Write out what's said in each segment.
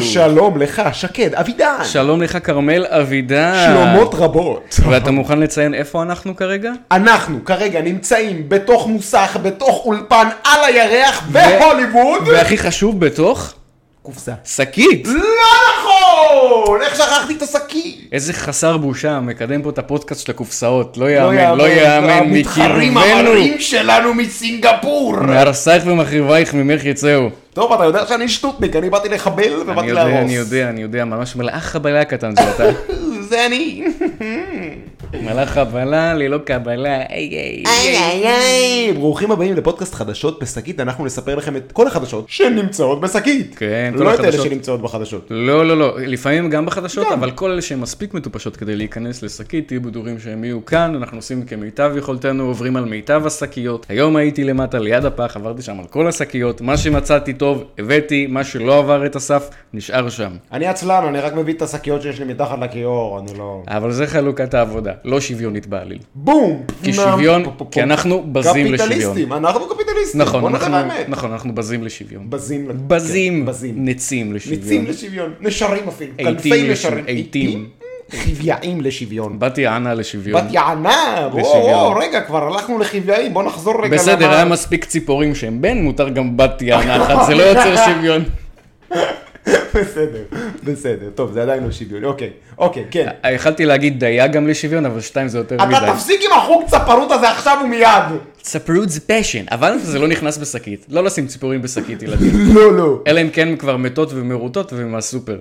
שלום לך, שקד, אבידן. אה. שלום לך, כרמל אבידן. שלומות רבות. ואתה מוכן לציין איפה אנחנו כרגע? אנחנו כרגע נמצאים בתוך מוסך, בתוך אולפן, על הירח, בהוליווד. והכי חשוב, בתוך קופסה. שקית. לא נכון! איך שכחתי את השקית? איזה חסר בושה, מקדם פה את הפודקאסט של הקופסאות. לא יאמן, לא יאמן, המתחרים מקרבנו. המרים שלנו מסינגפור. מהרסייך ומחריבייך ממך יצאו. טוב, אתה יודע שאני שטוטניק, אני באתי לחבל אני ובאתי יודע, להרוס. אני יודע, אני יודע, ממש מלאך חבלה קטן זה אתה. זה אני. מלאך חבלה ללא קבלה, איי איי. איי, איי, איי. ברוכים הבאים לפודקאסט חדשות בשקית, אנחנו נספר לכם את כל החדשות שנמצאות בשקית. כן, כל לא את אלה החדשות. שנמצאות בחדשות. לא, לא, לא, לפעמים גם בחדשות, אבל כל אלה שהן מספיק מטופשות כדי להיכנס לשקית, תהיו בטוחים שהם יהיו כאן, אנחנו עושים כמיטב יכולתנו, עוברים על מיטב השקיות. היום הייתי למטה ליד הפח, עברתי שם על כל השקיות, מה שמצאתי טוב, הבאתי, מה שלא עבר את הסף, נשאר שם. אני עצלן, אני רק מביא את השקיות שיש לי מתחת לכיור, אני לא... אבל זה חלוקת העבודה, לא שוויונית בעליל. בום! כי שוויון, פו, פו, פו. כי אנחנו בזים לשוויון. קפיטליסטים, אנחנו קפיטליסטים. נכון, בוא נדבר אנחנו, האמת. נכון, אנחנו בזים לשוויון. בזים. בזים, כן, בזים. נצים לשוויון. ניצים לשוויון. נשרים אפילו. עיתים כנפי לשוויון, נשרים. עיתים. חבייאים לשוויון. בת יענה לשוויון. בת יענה, לשוויון. וואו, רגע, כבר הלכנו לחבייאים, בוא נחזור רגע. בסדר, אה, למה- היה מספיק ציפורים שהם בן, מותר גם בת יענה אחת, זה לא יוצר שוויון. בסדר, בסדר, טוב, זה עדיין לא שוויון, אוקיי, אוקיי, כן. יכלתי להגיד דיה גם לשוויון, אבל שתיים זה יותר אתה לא מדי. תפסיק עם החוג צפרות הזה עכשיו ומיד. ספרות זה פשן, אבל זה לא נכנס בשקית. לא לשים ציפורים בשקית, ילדים. לא, לא. אלא אם כן הן כבר מתות ומרוטות ומהסופר.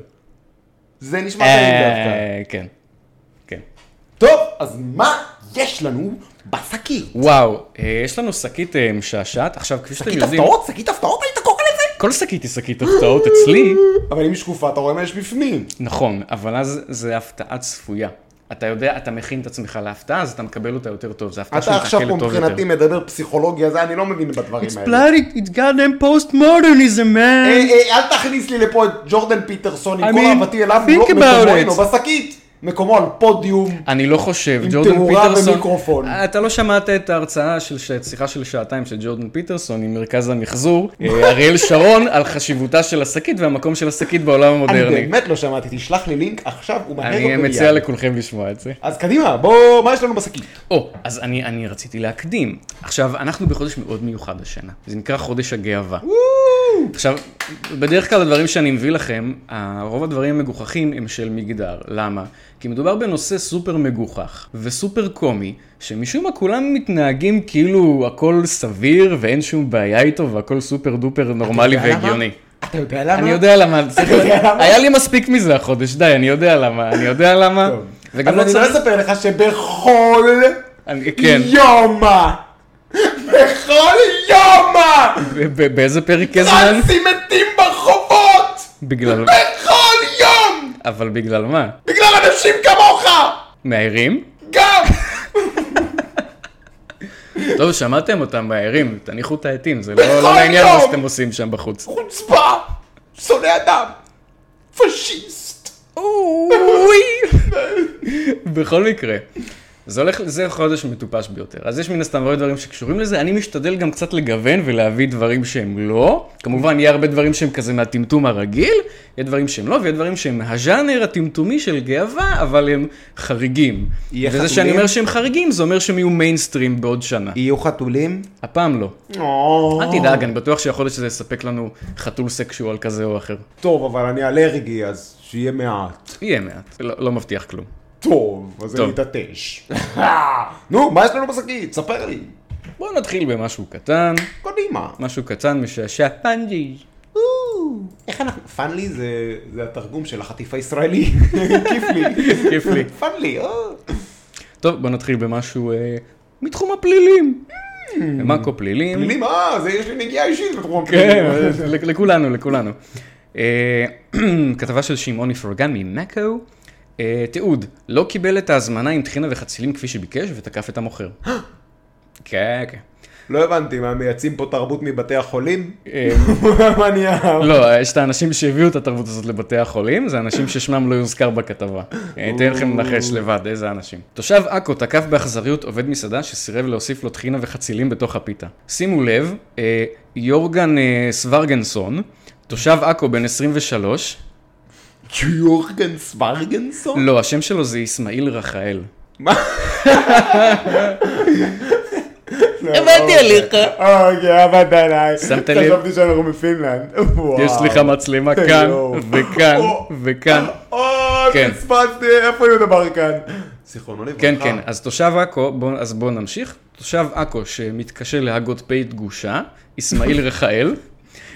זה נשמע טעים דווקא. אה, כן. כן. טוב, אז מה יש לנו בשקית? וואו, אה, יש לנו שקית אה, משעשעת. עכשיו, כפי שאתם שקית יודעים, הפתעות? שקית הפתעות היית קורא לזה? כל שקית היא שקית הפתעות אצלי. אבל אם היא שקופה, אתה רואה מה יש בפנים. נכון, אבל אז זה הפתעה צפויה. אתה יודע, אתה מכין את עצמך להפתעה, אז אתה מקבל אותה יותר טוב. זו הפתעה אתה עכשיו שמתעכל פה לטוב יותר. מבחינתי מדבר פסיכולוגיה, זה אני לא מבין בדברים It's האלה. bloody, it's goddamn postmodernism, אה, man. אה, אל תכניס לי לפה את ג'ורדן פיטרסון I עם כל mean, אהבתי אליו, think לא- about מקומו it. אינו בשקית. מקומו על פודיום. אני לא חושב, עם ג'ורדן תאורה פיטרסון, ומיקרופון. אתה לא שמעת את ההרצאה של ש- שיחה של שעתיים של ג'ורדן פיטרסון עם מרכז המחזור, אה, אריאל שרון, על חשיבותה של השקית והמקום של השקית בעולם אני המודרני. באמת לא שמעתי, תשלח לי לינק עכשיו ומהר אני אותו מציע מיד. לכולכם לשמוע את זה. אז קדימה, בוא, מה יש לנו בשקית? או, אז אני, אני רציתי להקדים. עכשיו, אנחנו בחודש מאוד מיוחד השנה. זה נקרא חודש הגאווה. עכשיו, בדרך כלל הדברים שאני מביא לכם, ה- רוב הדברים המגוחכים הם של מגדר. למה? כי מדובר בנושא סופר מגוחך וסופר קומי, שמשום מה כולם מתנהגים כאילו הכל סביר ואין שום בעיה איתו והכל סופר דופר נורמלי אתה יודע למה? והגיוני. אתה יודע למה? אני יודע למה, צריך- יודע למה? היה לי מספיק מזה החודש, די, אני יודע למה, אני יודע למה. טוב. וגם אז לא אני לא צריך... אספר לך שבכל אני- כן. יום, בכל יום, ב- ב- באיזה פרק הזמן? טרנסים מתים ברחובות, בגלל... בכל יום, אבל בגלל מה? בגלל אנשים כמוך, מאיירים? גם. טוב, לא, שמעתם אותם מאיירים, תניחו את העטים, זה לא בכל לא לעניין מה יום! שאתם עושים שם בחוץ. חוצפה, שונא אדם, פשיסט. בכל מקרה, זה הולך, זה חודש מטופש ביותר. אז יש מן הסתם הרבה דברים שקשורים לזה, אני משתדל גם קצת לגוון ולהביא דברים שהם לא. כמובן, יהיה הרבה דברים שהם כזה מהטמטום הרגיל, יהיה דברים שהם לא, ויהיה דברים שהם הז'אנר הטמטומי של גאווה, אבל הם חריגים. יהיה וזה חתולים? שאני אומר שהם חריגים, זה אומר שהם יהיו מיינסטרים בעוד שנה. יהיו חתולים? הפעם לא. אל אל תדאג, אני בטוח שהחודש הזה יספק לנו חתול סקשואל כזה או אחר. טוב, אבל אני אלרגי, אז שיהיה מעט. יהיה מעט, לא לא מבטיח כלום. טוב, אז אני טוב. אתעטש. נו, מה יש לנו בשקית? ספר לי. בואו נתחיל במשהו קטן, קדימה. משהו קטן משעשע פאנג'י. איך אנחנו... פאנלי זה, זה התרגום של החטיף הישראלי. כיף לי. כיף לי. פאנלי, או. טוב, בואו נתחיל במשהו אה, מתחום הפלילים. מקו פלילים. מילים, אה, זה יש לי נגיעה אישית בתחום כן, הפלילים. לכ- לכולנו, לכולנו. אה, כתבה של שמעון איפרגן ממאקו. אה, תיעוד, לא קיבל את ההזמנה עם טחינה וחצילים כפי שביקש ותקף את המוכר. כן, כן. לא הבנתי, מה, מייצאים פה תרבות מבתי החולים? אה, מה נהיה? לא, יש את האנשים שהביאו את התרבות הזאת לבתי החולים, זה אנשים ששמם לא יוזכר בכתבה. אני אתן לכם לנחש לבד איזה אנשים. תושב עכו תקף באכזריות עובד מסעדה שסירב להוסיף לו טחינה וחצילים בתוך הפיתה. שימו לב, אה, יורגן אה, סוורגנסון, תושב עכו בן 23, יורגן סברגנסון? לא, השם שלו זה אסמאעיל רחאל. מה? עבדתי עליך. לא. אוקיי, עבד עליי. שמת לב? חשבתי שאנחנו בפינלנד. וואו. יש לך מצלמה כאן, יואו. וכאן, או. וכאן. או, כן. אה, פספסתי, איפה יהודה ברקן? זיכרונו לברכה. כן, כן, אז תושב עכו, בוא, אז בואו נמשיך. תושב עכו שמתקשה להגות פי גושה, אסמאעיל רחאל,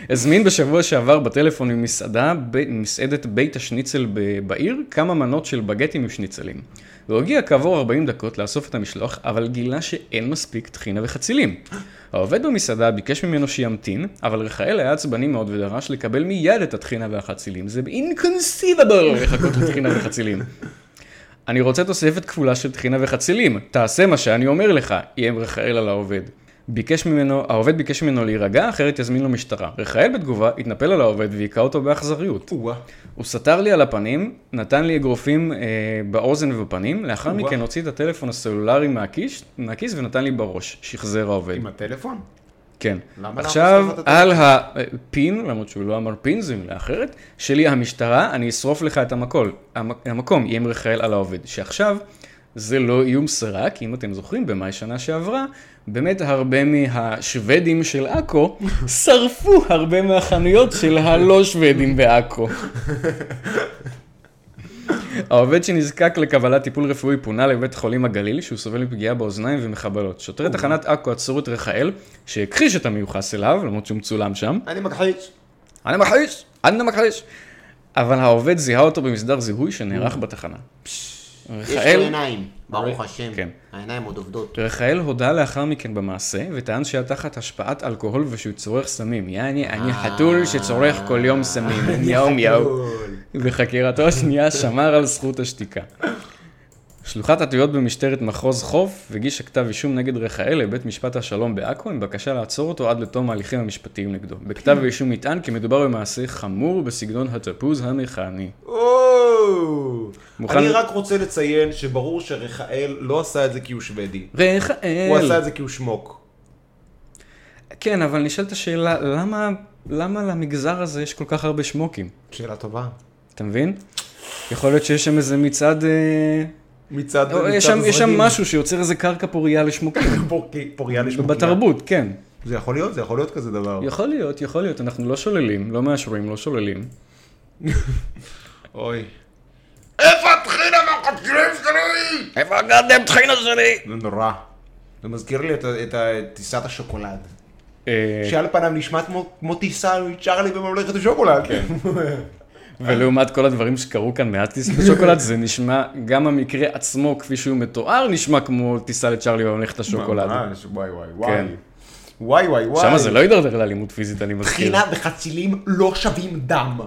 הזמין בשבוע שעבר בטלפון ממסעדה, ב- מסעדת בית השניצל ב- בעיר, כמה מנות של בגטים עם שניצלים. והוא הגיע כעבור 40 דקות לאסוף את המשלוח, אבל גילה שאין מספיק טחינה וחצילים. העובד במסעדה ביקש ממנו שימתין, אבל רחאל היה עצבני מאוד ודרש לקבל מיד את הטחינה והחצילים. זה אינקונסיבבל לחכות לטחינה וחצילים. אני רוצה תוספת כפולה של טחינה וחצילים, תעשה מה שאני אומר לך, איים רחאל על העובד. ביקש ממנו, העובד ביקש ממנו להירגע, אחרת יזמין לו משטרה. רחאל בתגובה התנפל על העובד והיכה אותו באכזריות. וואו. הוא סתר לי על הפנים, נתן לי אגרופים אה, באוזן ובפנים, לאחר וואו. מכן הוציא את הטלפון הסלולרי מהכיס, מהכיס ונתן לי בראש. שחזר העובד. עם הטלפון? כן. למה עכשיו, אה, אנחנו צריכים לתת על הפין, למרות שהוא לא אמר פין, זו מילה אחרת, שלי המשטרה, אני אשרוף לך את המקול, המק- המקום, איים רחל על העובד. שעכשיו, זה לא איום סרק, אם אתם זוכרים, במאי שנה שעברה, באמת הרבה מהשוודים של עכו, שרפו הרבה מהחנויות של הלא שוודים בעכו. העובד שנזקק לקבלת טיפול רפואי פונה לבית חולים הגליל, שהוא סובל מפגיעה באוזניים ומחבלות. שוטרי תחנת עכו עצרו את רחאל, שהכחיש את המיוחס אליו, למרות שהוא מצולם שם. אני מכחיש. אני מכחיש, אני מכחיש. אבל העובד זיהה אותו במסדר זיהוי שנערך בתחנה. Mm. יש לו רחאל, עיניים, ברוך השם. כן. העיניים עוד עובדות. רחאל הודה לאחר מכן במעשה, וטען שהיה תחת השפעת אלכוהול ושהוא צורך סמים. יעני, אני אה. חתול שצורך כל יום סמים. יום יום. בחקירתו השנייה שמר על זכות השתיקה. שלוחת התביעות במשטרת מחוז חוף הגישה כתב אישום נגד רחאל לבית משפט השלום בעכו עם בקשה לעצור אותו עד לתום ההליכים המשפטיים נגדו. בכתב האישום נטען כי מדובר במעשה חמור בסגנון התפוז המכני. או. מוכן- אני רק רוצה לציין שברור שרחאל לא עשה את זה כי הוא שוודי. הוא רחאל! עשה את זה כי הוא שמוק. כן, אבל נשאלת השאלה, למה, למה למגזר הזה יש כל כך הרבה שמוקים? שאלה טובה. אתה מבין? יכול להיות שיש שם איזה מצעד... אה, מצד או, מצד יש שם, יש שם הזרדים. משהו שיוצר איזה קרקע פורייה לשמוקים. פור- פוריה לשמוקיה. בתרבות, כן. זה יכול להיות, זה יכול להיות כזה דבר. יכול להיות, יכול להיות, אנחנו לא שוללים, לא מאשרים, לא שוללים. אוי. איפה הגעתם טחינה שלי? זה נורא. זה מזכיר לי את ה- את ה- את טיסת השוקולד. אה, שעל פניו נשמע כמו- כמו טיסה מצ'רלי בממלכת השוקולד. כן. אה. ולעומת כל הדברים שקרו כאן מאז טיסת השוקולד, זה נשמע, גם המקרה עצמו כפי שהוא מתואר, נשמע כמו טיסה לצ'ארלי בממלכת השוקולד. ממש, אה, וואי וואי וואי. כן. וואי וואי וואי. שמה זה לא הידרדר לאלימות פיזית, אני מזכיר. טחינה וחצילים לא שווים דם.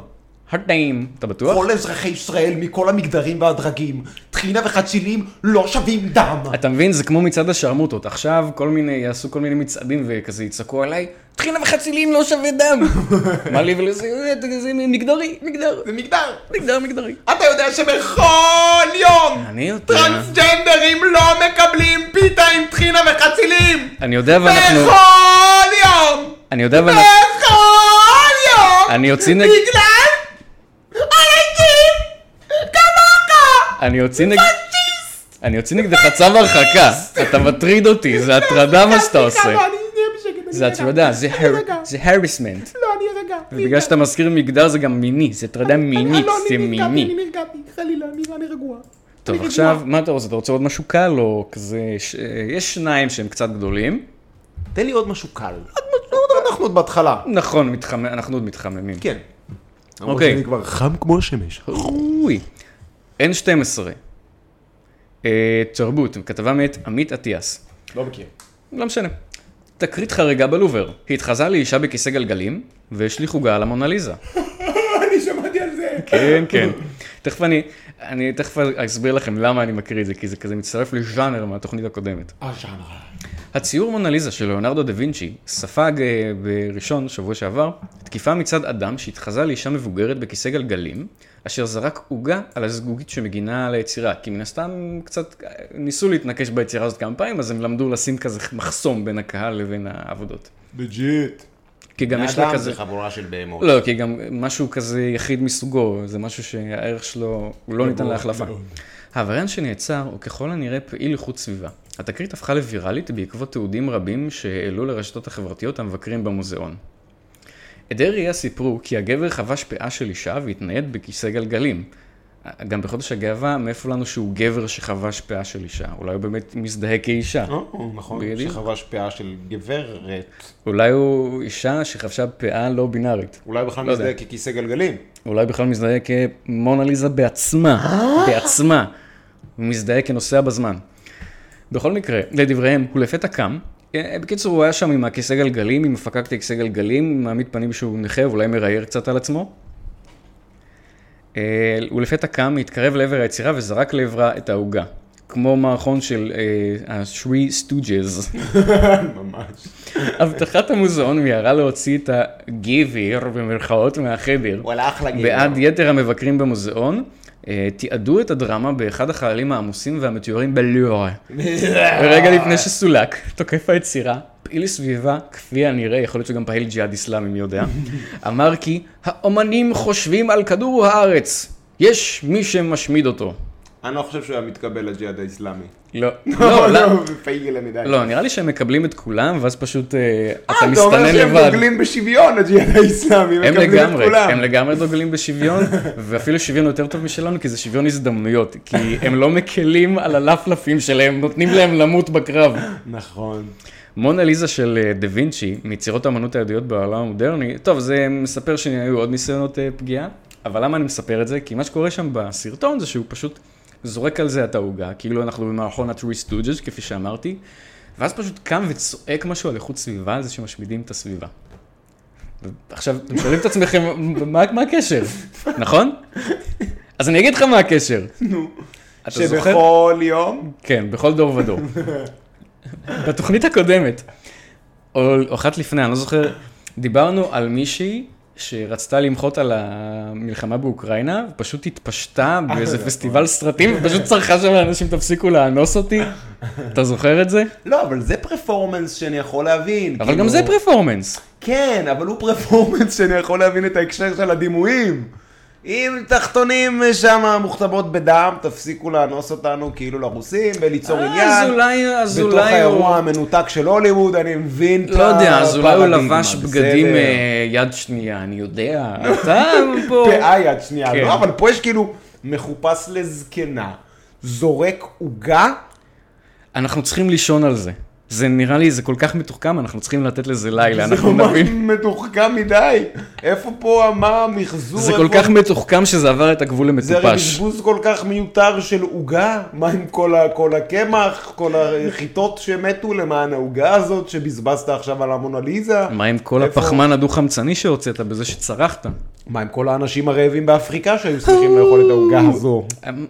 הטעים. אתה בטוח? כל אזרחי ישראל מכל המגדרים והדרגים. טחינה וחצילים לא שווים דם. אתה מבין, זה כמו מצעד השרמוטות. עכשיו כל מיני, יעשו כל מיני מצעדים וכזה יצעקו עליי, טחינה וחצילים לא שווה דם. מה לי ולזה, זה- זה מגדרי, מגדר, זה מגדר. מגדר מגדרי. אתה יודע שבכל יום אני יודע. טרנסג'נדרים לא מקבלים פיתה עם טחינה וחצילים! אני יודע, אבל אנחנו... בכל יום! אני יודע, אבל... בכל יום! אני אוציא נג... בגלל אנשים כמוך! אני אוציא נג... אני אוציא נגדך צו הרחקה. אתה מטריד אותי, זה הטרדה מה שאתה סליחה, עושה. לא, אני אהיה בשקט, אני זה ארגע. הטרדה, זה אני הר- ארגע. זה הרסמנט. לא, אני ארגע. ובגלל שאתה מזכיר מגדר זה גם מיני, זה הטרדה מינית, לא, זה אני נרגעתי, מיני. אני נרגעתי, חלילה, אני לא, אני רגוע. טוב, אני עכשיו, רגוע. מה אתה רוצה? אתה רוצה עוד משהו קל או כזה... ש- אה, יש שניים שהם קצת גדולים. תן לי עוד משהו קל. אנחנו עוד בהתחלה. נכון, מתחמם- אנחנו עוד מתחממים. כן. אוקיי. אני כבר חם כמו השמש. אוי. N12. אה, תרבות, כתבה מאת עמית אטיאס. לא מכיר. לא משנה. תקרית חריגה בלובר. התחזה לאישה בכיסא גלגלים, והשליכו גל המונליזה. אני שמעתי על זה. כן, כן. תכף אני, אני תכף אסביר לכם למה אני מקריא את זה, כי זה כזה מצטרף לז'אנר מהתוכנית הקודמת. הציור מונליזה של ליאונרדו דה וינצ'י ספג אה, בראשון, שבוע שעבר, תקיפה מצד אדם שהתחזה לאישה מבוגרת בכיסא גלגלים, אשר זרק עוגה על הזגוגית שמגינה על היצירה, כי מן הסתם קצת אה, ניסו להתנקש ביצירה הזאת כמה פעמים, אז הם למדו לשים כזה מחסום בין הקהל לבין העבודות. בג'יט. כי גם יש לה האדם כזה... זה חבורה של בהמות. לא, כי גם משהו כזה יחיד מסוגו, זה משהו שהערך שלו הוא לא ניתן להחלפה. העבריין שנעצר הוא ככל הנראה פעיל איכות סביבה. התקרית הפכה לוויראלית בעקבות תיעודים רבים שהעלו לרשתות החברתיות המבקרים במוזיאון. עדי ראייה סיפרו כי הגבר חבש פאה של אישה והתנייד בכיסא גלגלים. גם בחודש הגאווה, מאיפה לנו שהוא גבר שחבש פאה של אישה? אולי הוא באמת מזדהה כאישה. אה, או, נכון, בדיוק. שחבש פאה של גברת. אולי הוא אישה שחבשה פאה לא בינארית. אולי בכלל לא יודע. מזדהה ככיסא גלגלים. אולי בכלל מזדהה כמונליזה בעצמה, בעצמה. הוא מזדהה כנוסע בזמן. בכל מקרה, לדבריהם, הוא לפתע קם. אה, בקיצור, הוא היה שם עם הכיסא גלגלים, עם הפקק כיסא גלגלים, מעמיד פנים שהוא נכה, ואולי מראייר קצת על עצמו. אה, הוא לפתע קם, התקרב לעבר היצירה וזרק לעברה את העוגה. כמו מערכון של אה, השרי סטוג'ז. ממש. אבטחת המוזיאון מיהרה להוציא את הגבר, במרכאות, מהחדר. וואלה, אחלה גבר. בעד יתר המבקרים במוזיאון, אה, תיעדו את הדרמה באחד החללים העמוסים והמתוארים בלורה. רגע לפני שסולק, תוקף היצירה, פעיל סביבה, כפי הנראה, יכול להיות שגם פעיל ג'יהאד איסלאמי, מי יודע, אמר כי האומנים חושבים על כדור הארץ, יש מי שמשמיד אותו. אני לא חושב שהוא היה מתקבל לג'יהאד האיסלאמי. לא, לא, לא, הוא פעיל מדי. לא, נראה לי שהם מקבלים את כולם, ואז פשוט אה, אתה אה, אתה אומר מסתנן שהם לבד. דוגלים בשוויון הג'יהאד האיסלאמי, הם מקבלים את לגמרי, כולם. הם לגמרי דוגלים בשוויון, ואפילו שוויון יותר טוב משלנו, כי זה שוויון הזדמנויות, כי הם לא מקלים על הלפלפים שלהם, נותנים להם למות בקרב. נכון. מונה ליזה של אה, דה וינצ'י, מיצירות האמנות הידועות בעולם המודרני, טוב, זה מספר שהיו עוד ניסיונות אה, פגיעה, אבל למה אני מספר את זה? כי מה שקורה שם בסרטון זה שהוא פשוט זורק על זה את העוגה, כאילו אנחנו במערכון הטרי סטוג'ס, כפי שאמרתי, ואז פשוט קם וצועק משהו על איכות סביבה, על זה שמשמידים את הסביבה. עכשיו, אתם שואלים את עצמכם, מה, מה הקשר, נכון? אז אני אגיד לך מה הקשר. נו. אתה זוכר? שבכל יום, כן, בכל דור ודור. בתוכנית הקודמת, או או אחת לפני, אני לא זוכר, דיברנו על מישהי שרצתה למחות על המלחמה באוקראינה, ופשוט התפשטה אה, באיזה נכון. פסטיבל סרטים, ופשוט צרכה שם לאנשים, תפסיקו לאנוס אותי. אתה זוכר את זה? לא, אבל זה פרפורמנס שאני יכול להבין. אבל כאילו- גם זה פרפורמנס. כן, אבל הוא פרפורמנס שאני יכול להבין את ההקשר של הדימויים. אם תחתונים שם מוכתבות בדם, תפסיקו לאנוס אותנו כאילו לרוסים וליצור אז עניין. אולי, אז בתוך אולי אה, הוא... האירוע המנותק של הוליווד, אני מבין את לא יודע, אז אולי הוא הפרדיגמה, לבש בסדר. בגדים אה, יד שנייה, אני יודע. אתה פה... פאה יד שנייה, כן. לא, אבל פה יש כאילו מחופש לזקנה, זורק עוגה, אנחנו צריכים לישון על זה. זה נראה לי, זה כל כך מתוחכם, אנחנו צריכים לתת לזה לילה, זה אנחנו ממש נבין. מתוחכם מדי. איפה פה, מה המחזור? זה איפה- כל כך מתוחכם שזה עבר את הגבול זה הרי למטופש. בזבוז כל כך מיותר של עוגה, מה עם כל, ה, כל הקמח, כל החיטות שמתו למען העוגה הזאת שבזבזת עכשיו על המונליזה? מה עם כל איפה- הפחמן הדו-חמצני שהוצאת בזה שצרחת? מה עם כל האנשים הרעבים באפריקה שהיו שמחים לאכול את העוגה הזו? אמ,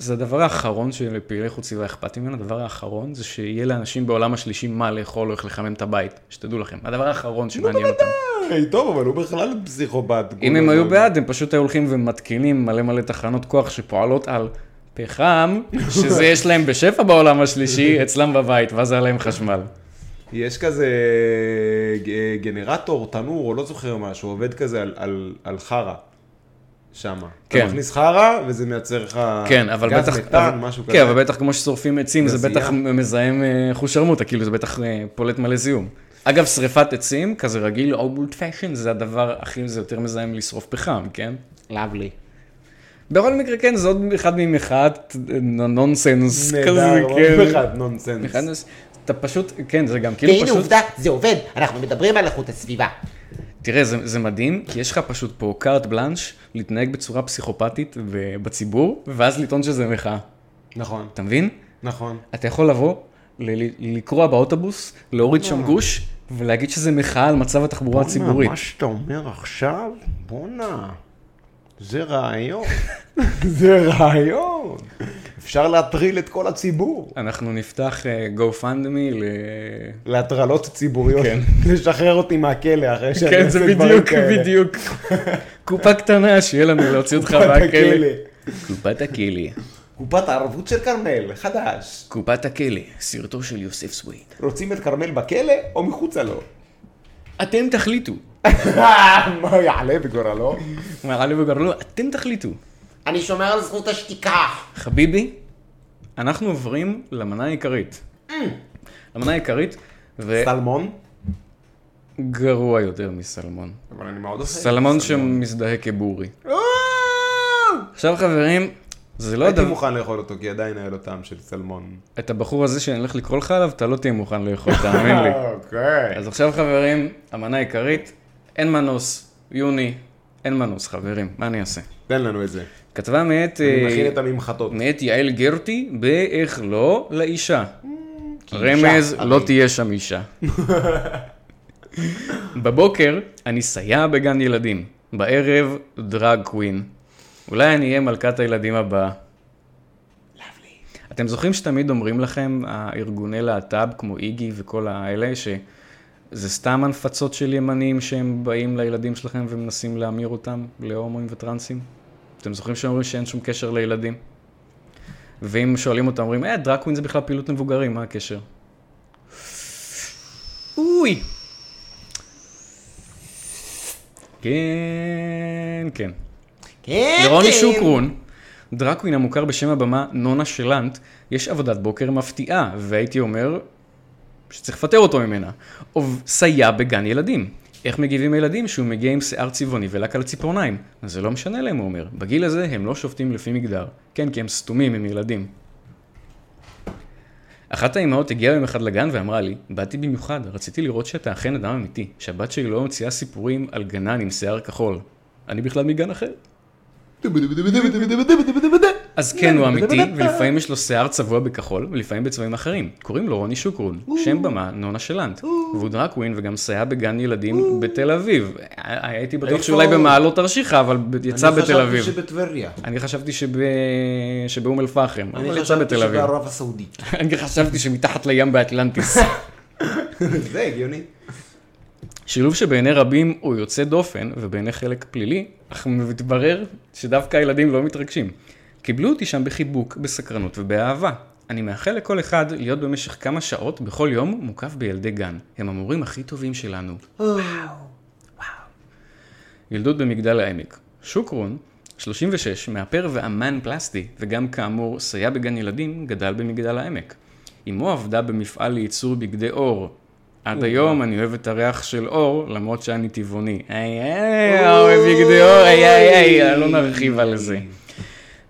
זה הדבר האחרון שלפעילי איכות סביבה אכפת ממנו, הדבר האחרון זה שיהיה לאנשים בעולם השלישי מה לאכול או איך לחמם את הבית, שתדעו לכם. הדבר האחרון שמעניין אותם. היי, אה, טוב, אבל הוא בכלל פסיכופת. אם הם היו בעד, הם פשוט היו הולכים ומתקינים מלא מלא תחנות כוח שפועלות על פחם, שזה יש להם בשפע בעולם השלישי, אצלם בבית, ואז היה להם חשמל. יש כזה אה, גנרטור, תנור, או לא זוכר משהו, עובד כזה על, על, על חרא. שמה. כן. אתה מכניס חרא, וזה מייצר לך כן, אבל אה, גז בטח... מתאן, אבל- משהו כן, כזה. אבל בטח כמו ששורפים עצים, זה גזייה. בטח מזהם אה, חושרמוטה, כאילו זה בטח אה, פולט מלא זיהום. אגב, שריפת עצים, כזה רגיל, אולד פאשן, זה הדבר הכי, זה יותר מזהם לשרוף פחם, כן? לאבלי. בכל מקרה, כן, זה עוד אחד ממחאת נונסנס כזה, נהדר, עוד כן. אחד נונסנס. אחד נוס- אתה פשוט, כן, זה גם כאילו והנה פשוט... עובדה, זה עובד, אנחנו מדברים על איכות הסביבה. תראה, זה, זה מדהים, כי יש לך פשוט פה קארט בלאנש להתנהג בצורה פסיכופתית ב- בציבור, ואז לטעון שזה מחאה. נכון, אתה מבין? נכון. אתה יכול לבוא, ל- ל- לקרוע באוטובוס, להוריד אה. שם גוש, ולהגיד שזה מחאה על מצב התחבורה הציבורית. מה שאתה אומר עכשיו, בואנה, זה רעיון. זה רעיון. אפשר להטריל את כל הציבור. אנחנו אנחנו נפתח אה, GoFundMe ל... להטרלות ציבוריות. כן. לשחרר אותי מהכלא אחרי שאני כן, זה עושה דברים בדיוק, כאלה. בדיוק. קופה קטנה שיהיה לנו להוציא אותך קופת מהכלא. הכלא. קופת הכלא. קופת הערבות של כרמל, חדש. קופת הכלא, סרטו של יוסף סוויד. רוצים את כרמל בכלא או מחוצה לו? אתם תחליטו. אה, מה יעלה בגורלו? הוא אומר, עלי וגרלו, אתם תחליטו. אני שומר על זכות השתיקה. חביבי, אנחנו עוברים למנה העיקרית. אה. למנה העיקרית, סלמון? וגרוע יותר מסלמון. אבל אני מאוד סלמון שמזדהה כבורי. אה! עכשיו חברים, זה לא הייתי הדבר... מוכן לאכול אותו, כי עדיין היה לו טעם של סלמון. את הבחור הזה שאני הולך לקרוא לך עליו, אתה לא תהיה מוכן לאכול, תאמין לי. אוקיי. אז עכשיו חברים, המנה העיקרית, אין מנוס, יוני, אין מנוס חברים, מה אני אעשה? תן לנו את זה. כתבה מאת, אני אה, מכין את הממחטות. מאת יעל גרטי, באיך לא לאישה. אישה, רמז, הרי. לא תהיה שם אישה. בבוקר אני סייע בגן ילדים, בערב דרג קווין. אולי אני אהיה מלכת הילדים הבאה. אתם זוכרים שתמיד אומרים לכם, הארגוני להט"ב כמו איגי וכל האלה, שזה סתם הנפצות של ימנים שהם באים לילדים שלכם ומנסים להמיר אותם להומואים וטרנסים? אתם זוכרים שאומרים שאין שום קשר לילדים? ואם שואלים אותם, אומרים, אה, דרקווין זה בכלל פעילות מבוגרים, מה הקשר? אוי! כן, כן. כן, לרוני כן. שוקרון, דרקווין המוכר בשם הבמה נונה שלנט, יש עבודת בוקר מפתיעה, והייתי אומר שצריך לפטר אותו ממנה. או סייע בגן ילדים. איך מגיבים ילדים שהוא מגיע עם שיער צבעוני ולק על ציפורניים? זה לא משנה להם, הוא אומר. בגיל הזה הם לא שופטים לפי מגדר. כן, כי הם סתומים, הם ילדים. אחת האימהות הגיעה יום אחד לגן ואמרה לי, באתי במיוחד, רציתי לראות שאתה אכן אדם אמיתי, שהבת שלי לא ממציאה סיפורים על גנן עם שיער כחול. אני בכלל מגן אחר. אז כן, הוא אמיתי, ולפעמים יש לו שיער צבוע בכחול, ולפעמים בצבעים אחרים. קוראים לו רוני שוקרון, שם במה נונה שלנט. והוא דרקווין וגם סייע בגן ילדים בתל אביב. ה- הייתי בטוח איפה שאולי הוא? במעלות תרשיחא, אבל ב- יצא בתל אני אביב. חשבתי שבטבריה. אני חשבתי שב- שבאום אל-פחם, אבל אני יצא חשבתי בתל אביב. שבערב הסעודית. אני חשבתי שמתחת לים באטלנטיס. זה הגיוני. שילוב שבעיני רבים הוא יוצא דופן, ובעיני חלק פלילי, אך מתברר שדווקא הילדים לא מתרגשים. קיבלו אותי שם בחיבוק, בסקרנות ובאהבה. אני מאחל לכל אחד להיות במשך כמה שעות בכל יום מוקף בילדי גן. הם המורים הכי טובים שלנו. ילדות במגדל העמק. שוקרון, 36, מאפר ואמן פלסטי, וגם כאמור סייע בגן ילדים, גדל במגדל העמק. אמו עבדה במפעל לייצור בגדי אור. עד היום אני אוהב את הריח של אור, למרות שאני טבעוני. איי איי, אור בגדי אור, איי איי איי, לא נרחיב על זה.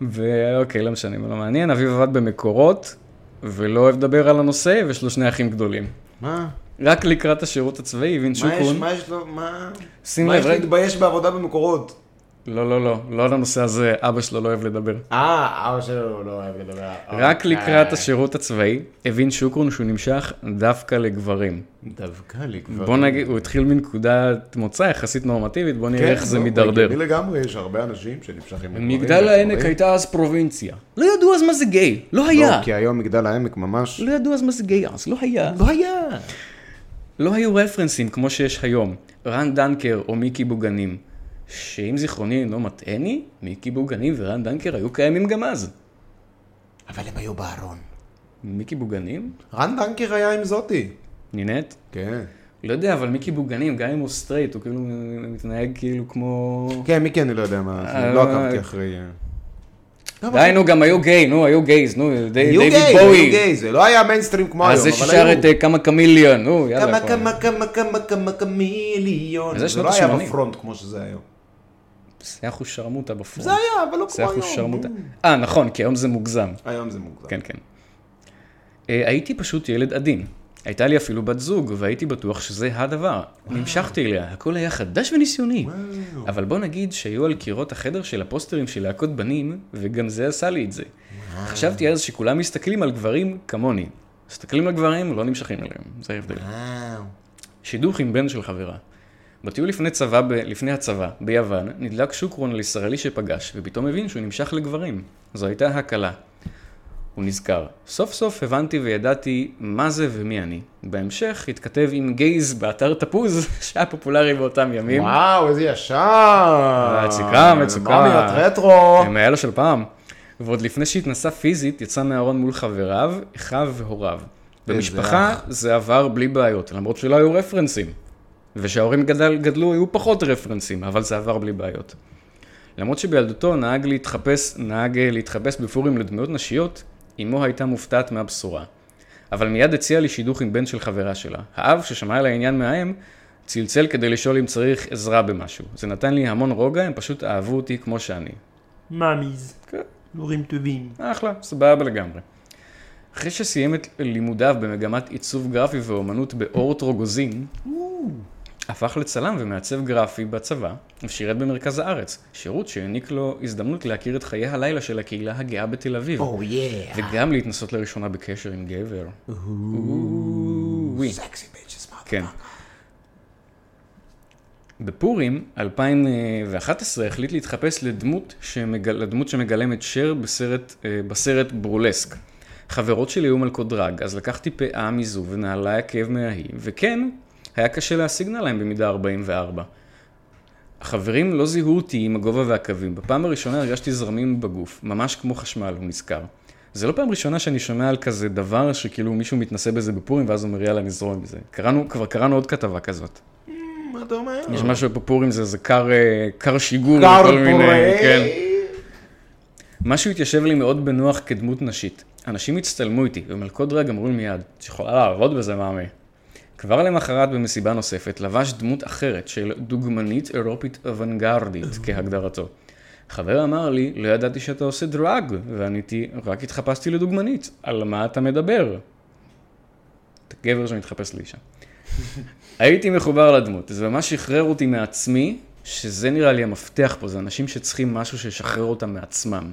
ואוקיי, לא משנה, לא מעניין. אביו עבד במקורות, ולא אוהב לדבר על הנושא, ויש לו שני אחים גדולים. מה? רק לקראת השירות הצבאי מה הבין יש- שוקרון. מה יש לו? מה? שים מה לב, יש רגע. להתבייש בעבודה במקורות? לא, לא, לא, לא על הנושא הזה, אבא שלו לא אוהב לדבר. אה, אבא שלו לא אוהב לדבר. רק אוקיי. לקראת השירות הצבאי, הבין שוקרון שהוא נמשך דווקא לגברים. אוקיי. דווקא לי כבר. בוא נגיד, הוא התחיל מנקודת מוצא יחסית נורמטיבית, בוא כן, נראה איך לא, זה מידרדר. הגיוני לגמרי, יש הרבה אנשים שנמשכים לגברים, מגדל העמק לגברים. הייתה אז פרובינציה. לא ידעו אז מה זה גיי, לא היה. לא, כי היום מגדל העמק ממש... לא ידעו אז מה זה גיי אז, לא היה. לא היה. לא היו רפרנסים כמו שיש היום. רן דנקר או מיקי בוגנים. שאם זיכרוני אינו מטעני, מיקי בוגנים ורן דנקר היו קיימים גם אז. אבל הם היו בארון. מיקי בוגנים? רן דנקר היה עם זאתי. נינת? כן. לא יודע, אבל מיקי בוגנים, גם אם הוא סטרייט, הוא כאילו מתנהג כאילו כמו... כן, מיקי אני לא יודע מה, אה, זה, לא עקבתי אחרי... אה. די, נו, גם היו גיי, נו, היו גייז, נו, די- היו דיוויד גיי, היו בואי. גיי, זה לא היה מיינסטרים כמו היום, אז אבל זה היו. ששר את אה, כמה קמיליון, נו, יאללה. כמה כבר. כמה כמה כמה כמה כמה מיליון. אז זה זה שנות לא היה ה-שמונים. בפרונט כמו שזה היום. זה היה אחוז שרמוטה בפרונט. זה היה, אבל לא זה כמו היה אחוז היום. שרמוטה. אה, נכון, כי היום זה מוגזם. היום זה מוגזם. כן, כן. אה, הייתי פשוט ילד עדין. הייתה לי אפילו בת זוג, והייתי בטוח שזה הדבר. נמשכתי אליה, הכל היה חדש וניסיוני. אה, אבל בוא נגיד שהיו על קירות החדר של הפוסטרים של להקות בנים, וגם זה עשה לי את זה. חשבתי אז שכולם מסתכלים על גברים כמוני. מסתכלים על גברים, לא נמשכים אליהם. זה ההבדל. וואו. שידוך עם בן של חברה. בטיול לפני, צבא ב... לפני הצבא, ביוון, נדלק שוקרון על ישראלי שפגש, ופתאום הבין שהוא נמשך לגברים. זו הייתה הקלה. הוא נזכר. סוף סוף הבנתי וידעתי מה זה ומי אני. בהמשך התכתב עם גייז באתר תפוז, שהיה פופולרי באותם ימים. וואו, איזה אה, ישר. מציקה, מצוקה. כן. מומיות רטרו. הם האלה של פעם. ועוד לפני שהתנסה פיזית, יצא מהארון מול חבריו, אחיו והוריו. במשפחה זה עבר בלי בעיות, למרות שלא היו רפרנסים. ושההורים גדל, גדלו, היו פחות רפרנסים, אבל זה עבר בלי בעיות. למרות שבילדותו נהג להתחפש, נהג אה, להתחפש בפורים לדמויות נשיות, אמו הייתה מופתעת מהבשורה. אבל מיד הציעה לי שידוך עם בן של חברה שלה. האב, ששמע על העניין מהאם, צלצל כדי לשאול אם צריך עזרה במשהו. זה נתן לי המון רוגע, הם פשוט אהבו אותי כמו שאני. מאמיז. כן. הורים טובים. אחלה, סבבה לגמרי. אחרי שסיים את לימודיו במגמת עיצוב גרפי ואומנות באורט רוגוזין, הפך לצלם ומעצב גרפי בצבא, ושירת במרכז הארץ, שירות שהעניק לו הזדמנות להכיר את חיי הלילה של הקהילה הגאה בתל אביב, או יא. וגם להתנסות לראשונה בקשר עם גבר. אוי. סקסי ביצ'ס כן. בפורים 2011 החליט להתחפש לדמות, שמגל... לדמות שמגלמת שר בסרט, אה, בסרט ברולסק. חברות שלי היו מלכות דרג, אז לקחתי פאה מזו ונעלי עקב מההיא, וכן, היה קשה להשיג נעליים במידה 44. החברים לא זיהו אותי עם הגובה והקווים. בפעם הראשונה הרגשתי זרמים בגוף, ממש כמו חשמל, הוא נזכר. זה לא פעם ראשונה שאני שומע על כזה דבר שכאילו מישהו מתנסה בזה בפורים ואז אומר יאללה נזרום עם זה. קראנו, כבר קראנו עוד כתבה כזאת. Mm, מה אתה אומר? יש משהו בפורים זה, זה קר, אה, קר שיגור, קר וכל מיני- פורה. כן. משהו התיישב לי מאוד בנוח כדמות נשית. אנשים הצטלמו איתי, ומלכוד דרג אמרו לי מיד, את יכולה לעבוד בזה, מאמי. כבר למחרת במסיבה נוספת, לבש דמות אחרת של דוגמנית אירופית אוונגרדית, כהגדרתו. חבר אמר לי, לא ידעתי שאתה עושה דרג, ועניתי, רק התחפשתי לדוגמנית, על מה אתה מדבר? אתה גבר שמתחפש לאישה. הייתי מחובר לדמות, זה ממש שחרר אותי מעצמי, שזה נראה לי המפתח פה, זה אנשים שצריכים משהו שישחרר אותם מעצמם.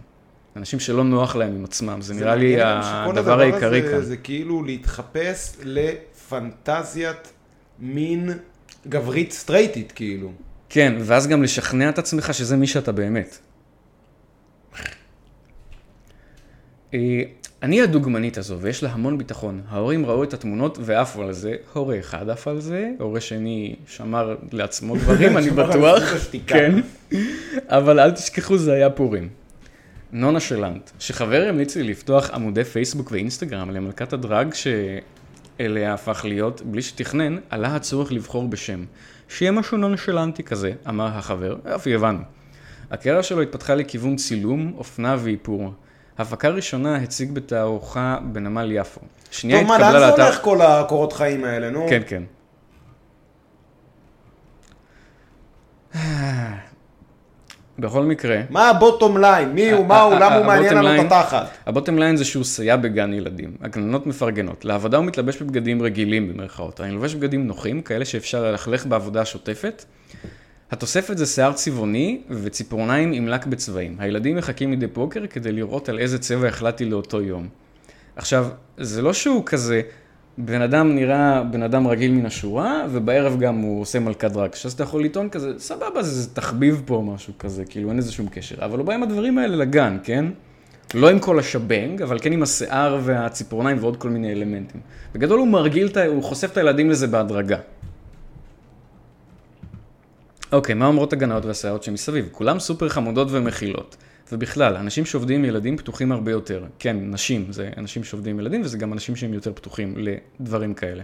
אנשים שלא נוח להם עם עצמם, זה, נראה לי מעניין גם שכל הדבר העיקרי הזה כאן. זה כאילו להתחפש לפנטזיית מין גברית סטרייטית, כאילו. כן, ואז גם לשכנע את עצמך שזה מי שאתה באמת. אה, אני הדוגמנית הזו, ויש לה המון ביטחון. ההורים ראו את התמונות ועפו על זה. הורה אחד עף על זה, הורה שני שמר לעצמו דברים, אני שמר על בטוח. זכות השתיקה. כן. אבל אל תשכחו, זה היה פורים. נונה שלנט, שחבר המליץ לי לפתוח עמודי פייסבוק ואינסטגרם למלכת הדרג שאליה הפך להיות, בלי שתכנן, עלה הצורך לבחור בשם. שיהיה משהו נונשלנטי כזה, אמר החבר, אף הבנו. הקריירה שלו התפתחה לכיוון צילום, אופנה ואיפור. הפקה ראשונה הציג בתערוכה בנמל יפו. שנייה טוב, מה, התקבלה לאן זה לאתר... הולך כל הקורות חיים האלה, נו? כן, כן. בכל מקרה, מה הבוטום ליין? מי הוא, ה- מה הוא, ה- למה הוא ה- מעניין הבוטום לנו את ליין- התחת? הבוטם ליין זה שהוא סייע בגן ילדים. הגננות מפרגנות. לעבודה הוא מתלבש בבגדים רגילים במרכאות. אני לובש בגדים נוחים, כאלה שאפשר ללכלך בעבודה השוטפת. התוספת זה שיער צבעוני וציפורניים עם לק בצבעים. הילדים מחכים מדי בוקר כדי לראות על איזה צבע החלטתי לאותו יום. עכשיו, זה לא שהוא כזה, בן אדם נראה בן אדם רגיל מן השורה, ובערב גם הוא עושה מלכת דרק. אז אתה יכול לטעון כזה, סבבה, זה זה תחביב פה משהו כזה, כאילו אין לזה שום קשר. אבל הוא בא עם הדברים האלה לגן, כן? לא עם כל השבנג, אבל כן עם השיער והציפורניים ועוד כל מיני אלמנטים. בגדול הוא מרגיל, את ה- הוא חושף את הילדים לזה בהדרגה. אוקיי, מה אומרות הגננות והסייעות שמסביב? כולם סופר חמודות ומכילות. ובכלל, אנשים שעובדים עם ילדים פתוחים הרבה יותר. כן, נשים, זה אנשים שעובדים עם ילדים, וזה גם אנשים שהם יותר פתוחים לדברים כאלה.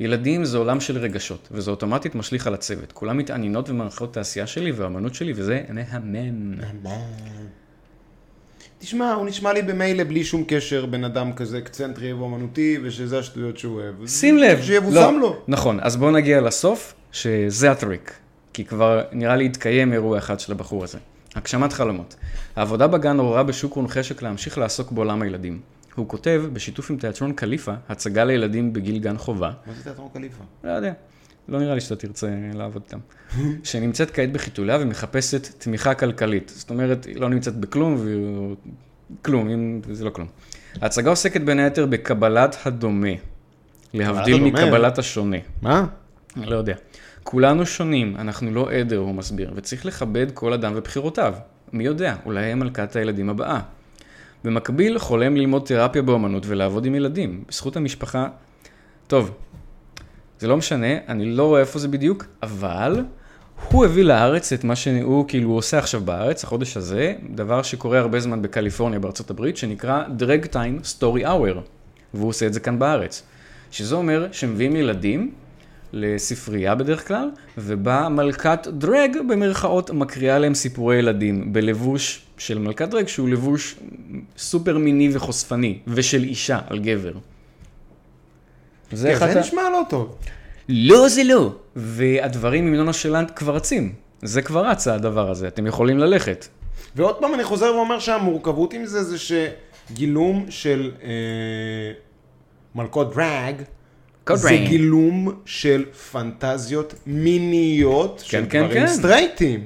ילדים זה עולם של רגשות, וזה אוטומטית משליך על הצוות. כולם מתעניינות ומערכות את העשייה שלי והאמנות שלי, וזה מהמם. תשמע, הוא נשמע לי במילא בלי שום קשר בן אדם כזה אקצנטרי ואומנותי, ושזה השטויות שהוא אוהב. שים לב. שיבושם לו. נכון, אז בואו נגיע לסוף, שזה הטריק. כי כבר נראה לי התקיים אירוע אחד של הבחור הזה. הגשמת חלומות. העבודה בגן עוררה בשוק וחשק להמשיך לעסוק בעולם הילדים. הוא כותב, בשיתוף עם תיאטרון קליפה, הצגה לילדים בגיל גן חובה, מה זה תיאטרון קליפה? לא יודע. לא נראה לי שאתה תרצה לעבוד איתם. שנמצאת כעת בחיתוליה ומחפשת תמיכה כלכלית. זאת אומרת, היא לא נמצאת בכלום, והיא... כלום, אם... זה לא כלום. ההצגה עוסקת בין היתר בקבלת הדומה. להבדיל הדומה? מקבלת השונה. מה? אני לא יודע. כולנו שונים, אנחנו לא עדר, הוא מסביר, וצריך לכבד כל אדם ובחירותיו. מי יודע, אולי היא מלכת הילדים הבאה. במקביל, חולם ללמוד תרפיה באמנות ולעבוד עם ילדים. בזכות המשפחה... טוב, זה לא משנה, אני לא רואה איפה זה בדיוק, אבל הוא הביא לארץ את מה שהוא כאילו עושה עכשיו בארץ, החודש הזה, דבר שקורה הרבה זמן בקליפורניה, בארצות הברית, שנקרא Drag Time Story Hour, והוא עושה את זה כאן בארץ. שזה אומר שמביאים ילדים לספרייה בדרך כלל, ובה מלכת דרג במרכאות מקריאה להם סיפורי ילדים, בלבוש של מלכת דרג, שהוא לבוש סופר מיני וחושפני, ושל אישה על גבר. כן, אחת זה ה- נשמע לא טוב. לא זה לא. והדברים עם נונה שלנט כבר רצים. זה כבר רץ הדבר הזה, אתם יכולים ללכת. ועוד פעם אני חוזר ואומר שהמורכבות עם זה זה שגילום של אה, מלכות דרג, קוד זה ריינג. גילום של פנטזיות מיניות של כן, כן, גברים כן. סטרייטים.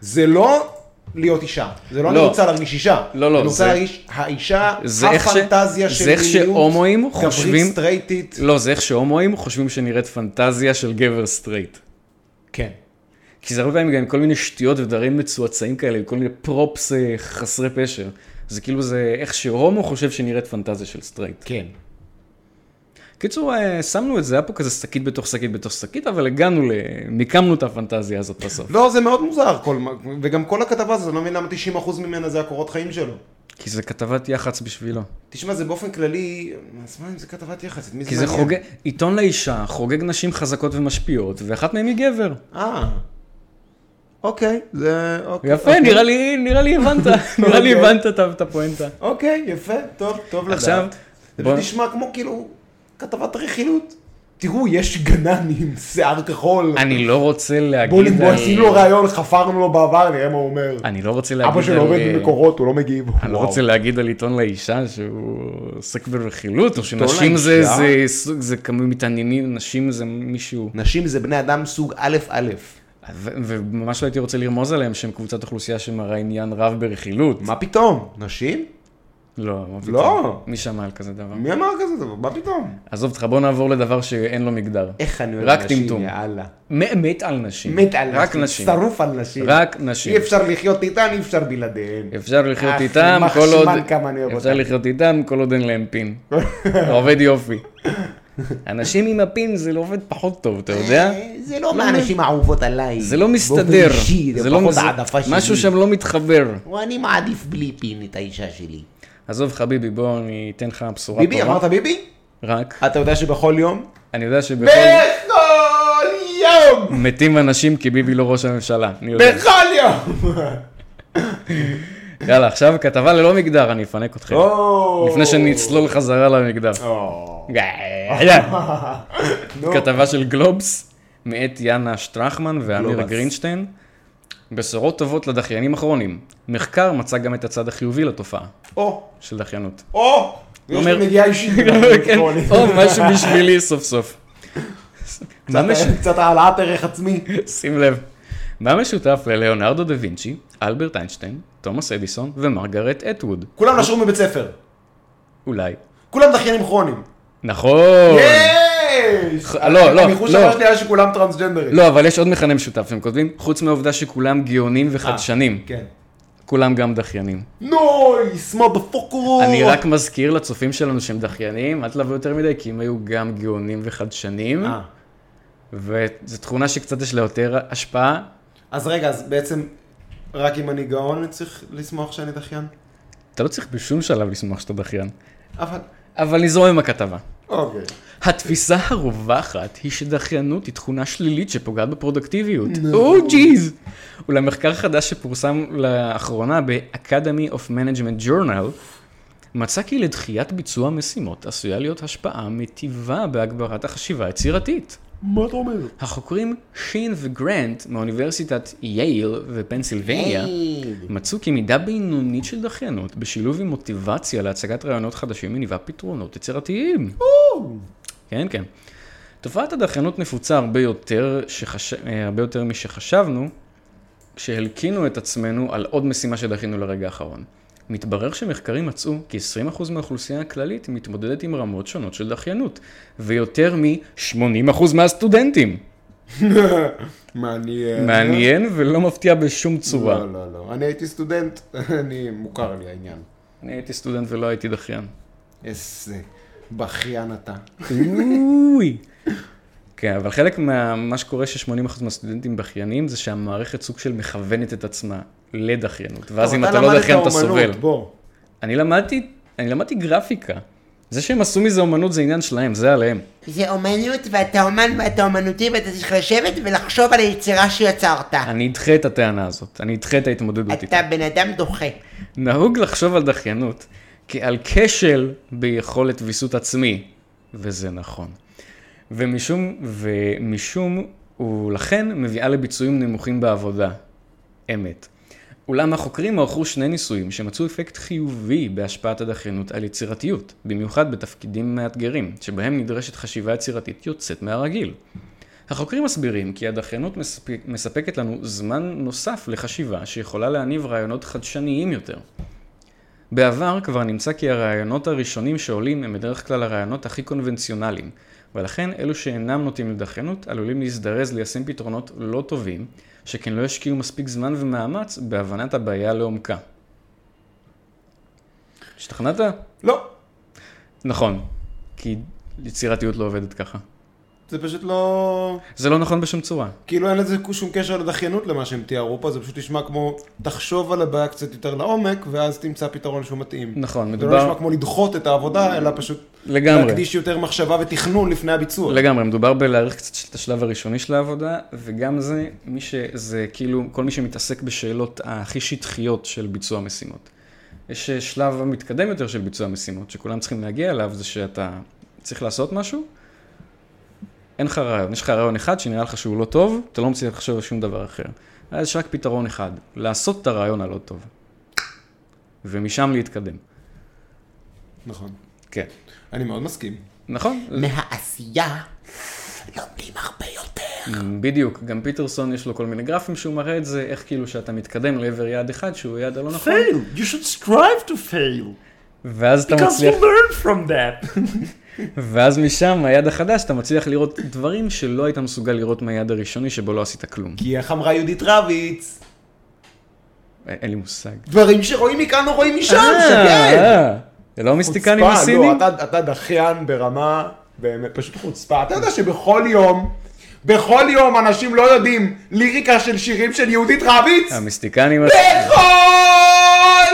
זה לא להיות אישה, זה לא, לא. אני רוצה להרגיש אישה. לא, לא, אני רוצה זה- להרגיש האישה, זה איך ש- הפנטזיה זה של איך שהומואים חושבים- גברית סטרייטית. לא, זה איך שהומואים חושבים שנראית פנטזיה של גבר סטרייט. כן. כי זה הרבה פעמים גם עם כל מיני שטויות ודברים מצועצעים כאלה, עם כל מיני פרופס אה, חסרי פשר. זה כאילו זה איך שהומו חושב שנראית פנטזיה של סטרייט. כן. קיצור, אה, שמנו את זה, היה פה כזה שקית בתוך שקית בתוך שקית, אבל הגענו ל... מיקמנו את הפנטזיה הזאת בסוף. לא, זה מאוד מוזר, כל... מה- וגם כל הכתבה הזאת, אני לא מבין למה 90% ממנה זה הקורות חיים שלו. כי זה כתבת יח"צ בשבילו. תשמע, זה באופן כללי, אז מה אם זה כתבת יחס? את מי כי זה מעניין? חוגג, עיתון לאישה, חוגג נשים חזקות ומשפיעות, ואחת מהן היא גבר. אה. אוקיי, זה... אוקיי. יפה, נראה לי, נראה לי הבנת, נראה לי אוקיי. הבנת את ה- את הפואנטה. אוקיי, יפה, טוב, טוב לדעת. עכשיו, זה בוא- בוא... נשמע כמו כאילו כתבת רכילות. תראו, יש גנן עם שיער כחול. אני לא רוצה להגיד... בואו נגמור, על- עשינו לו ראיון, חפרנו לו בעבר, נראה מה הוא אומר. אני לא רוצה להגיד... אבא שלו על- עובד במקורות, הוא לא מגיב. אני לא רוצה להגיד על עיתון לאישה שהוא עוסק ברכילות, או שנשים זה, לאישה? זה, סוג- זה כמה מתעניינים, נשים זה מישהו... נשים זה בני אדם סוג א' א'. ו- וממש לא הייתי רוצה לרמוז עליהם שהם קבוצת אוכלוסייה שמראה עניין רב ברכילות. מה פתאום? נשים? לא, מה פתאום. לא. מי שמע על כזה דבר? מי אמר כזה דבר? מה פתאום? עזוב אותך, בוא נעבור לדבר שאין לו מגדר. איך אני אוהב רק נשים, טמטום. יאללה. מ- מת על נשים. מת על נשים. רק נשים. שרוף על נשים. רק נשים. אי אפשר לחיות איתן, אי אפשר בלעדיהן. אפשר לחיות אך, איתם יימח כל עוד... שמם כמה אני אוהב אפשר אותם. לחיות איתם כל עוד אין להם פין. עובד יופי. אנשים עם הפין זה לא עובד פחות טוב, אתה יודע? זה לא מהנשים האהובות עליי. זה לא באופן מסתדר. אישי, זה לא פחות מזה- העדפה שלי. משהו שם לא מתחבר. אני מעדיף בלי פין את האישה שלי. עזוב חביבי, בוא אני אתן לך בשורה ביבי, טובה. אמרת ביבי? רק, אתה יודע שבכל יום? אני יודע שבכל... בכל יום! מתים אנשים כי ביבי לא ראש הממשלה. אני יודע. בכל יום! יאללה, עכשיו כתבה ללא מגדר, אני אפנק אתכם. או. לפני שנצלול חזרה למגדר. או. נו. אה, כתבה של גלובס, מאת יאנה שטרחמן ואמיר גלובס. גרינשטיין. בשורות טובות לדחיינים אחרונים. מחקר מצא גם את הצד החיובי לתופעה או. של דחיינות. או. יש אומר- לי נגיעה אישית. כן, או משהו בשבילי סוף סוף. מה מש- קצת אה. העלאת ערך עצמי. שים לב. מה משותף ללאונרדו דה וינצ'י, אלברט איינשטיין, תומאס אדיסון ומרגרט אטווד? כולם נשרו מבית ספר. אולי. כולם דחיינים כרוניים. נכון! יש! לא, לא, הניחוש לא. הבא שלי היה שכולם טרנסג'נדרים. לא, אבל יש עוד מכנה משותף, הם כותבים, חוץ מהעובדה שכולם גאונים וחדשנים, כן. כולם גם דחיינים. נויס, מה בפוקו? אני רק מזכיר לצופים שלנו שהם דחיינים, אל תלוו יותר מדי, כי הם היו גם גאונים וחדשנים, אה. וזו תכונה שקצת יש לה יותר השפעה. אז רגע, אז בעצם, רק אם אני גאון, אני צריך לשמוח שאני דחיין? אתה לא צריך בשום שלב לשמוח שאתה דחיין. אבל... אבל נזרום עם הכתבה. אוקיי. התפיסה הרווחת היא שדחיינות היא תכונה שלילית שפוגעת בפרודקטיביות. או ג'יז! אולם מחקר חדש שפורסם לאחרונה ב-Academy of Management Journal מצא כי לדחיית ביצוע משימות עשויה להיות השפעה מטיבה בהגברת החשיבה היצירתית. מה אתה אומר? החוקרים שין וגרנט מאוניברסיטת יייל ופנסילבניה מצאו כי מידה בינונית של דחיינות בשילוב עם מוטיבציה להצגת רעיונות חדשים מניבה פתרונות יצירתיים. כן, כן. תופעת הדחיינות נפוצה הרבה יותר, שחש... אה, הרבה יותר משחשבנו, כשהלקינו את עצמנו על עוד משימה שדחינו לרגע האחרון. מתברר שמחקרים מצאו כי 20% מהאוכלוסייה הכללית מתמודדת עם רמות שונות של דחיינות, ויותר מ-80% מהסטודנטים. מעניין. מעניין ולא מפתיע בשום צורה. אה, כן. לא, לא, לא. אני הייתי סטודנט, אני מוכר לי העניין. אני הייתי סטודנט ולא הייתי דחיין. איזה בכיין אתה. אוי. כן, אבל חלק מה- מה שקורה ש-80% מהסטודנטים בכיינים, זה שהמערכת סוג של מכוונת את עצמה לדחיינות. ואז אם אתה לא למדת דחיין, אתה אומנות, סובל. בוא. אני למדתי, אני למדתי גרפיקה. זה שהם עשו מזה אומנות זה עניין שלהם, זה עליהם. זה אומנות ואתה אומן ואתה אומנותי ואתה צריך לשבת ולחשוב על היצירה שיצרת. אני לא אדחה את הטענה הזאת, אני אדחה את ההתמודדות איתה. אתה בן אדם דוחה. נהוג לחשוב על דחיינות כעל כשל ביכולת ויסות עצמי, וזה נכון. ומשום, ומשום ולכן מביאה לביצועים נמוכים בעבודה. אמת. אולם החוקרים ערכו שני ניסויים שמצאו אפקט חיובי בהשפעת הדחיינות על יצירתיות, במיוחד בתפקידים מאתגרים, שבהם נדרשת חשיבה יצירתית יוצאת מהרגיל. החוקרים מסבירים כי הדחיינות מספק, מספקת לנו זמן נוסף לחשיבה שיכולה להניב רעיונות חדשניים יותר. בעבר כבר נמצא כי הרעיונות הראשונים שעולים הם בדרך כלל הרעיונות הכי קונבנציונליים, ולכן אלו שאינם נוטים לדחיינות עלולים להזדרז ליישם פתרונות לא טובים, שכן לא ישקיעו מספיק זמן ומאמץ בהבנת הבעיה לעומקה. השתכנעת? לא, נכון, כי יצירתיות לא עובדת ככה. זה פשוט לא... זה לא נכון בשום צורה. כאילו אין לזה שום קשר לדחיינות למה שהם תיארו פה, זה פשוט נשמע כמו, תחשוב על הבעיה קצת יותר לעומק, ואז תמצא פתרון שהוא מתאים. נכון, זה לא מדובר... נשמע כמו לדחות את העבודה, אלא פשוט לגמרי. להקדיש יותר מחשבה ותכנון לפני הביצוע. לגמרי, מדובר בלהעריך קצת את השלב הראשוני של העבודה, וגם זה, מי שזה כאילו, כל מי שמתעסק בשאלות הכי שטחיות של ביצוע משימות. יש אה, שלב המתקדם יותר של ביצוע משימות, שכולם צריכים להגיע אליו, זה שאתה צריך לעשות משהו, אין לך רעיון, יש לך רעיון אחד שנראה לך שהוא לא טוב, אתה לא מצליח לחשוב על שום דבר אחר. אז יש רק פתרון אחד, לעשות את הרעיון הלא טוב. ומשם להתקדם. נכון. כן. אני מאוד מסכים. נכון? מהעשייה לומדים הרבה יותר. בדיוק, גם פיטרסון יש לו כל מיני גרפים שהוא מראה את זה, איך כאילו שאתה מתקדם לעבר יעד אחד שהוא היעד הלא נכון, Fail! You should strive to fail! ואז אתה Because you מצליח, learn from that! ואז משם, היעד החדש, אתה מצליח לראות דברים שלא היית מסוגל לראות מהיעד הראשוני שבו לא עשית כלום. כי איך אמרה יהודית רביץ? אה, אין אין לי מושג. דברים שרואים מכאן לא רואים משם, אה, שגן! אה, זה לא מיסטיקנים חוצפה, הסינים? לא, אתה- אתה דחיין ברמה, באמת, פשוט חוצפה. אתה יודע כן. שבכל יום, בכל יום אנשים לא יודעים ליריקה של שירים של יהודית אה, רביץ? כן. המיסטיקנים, בכל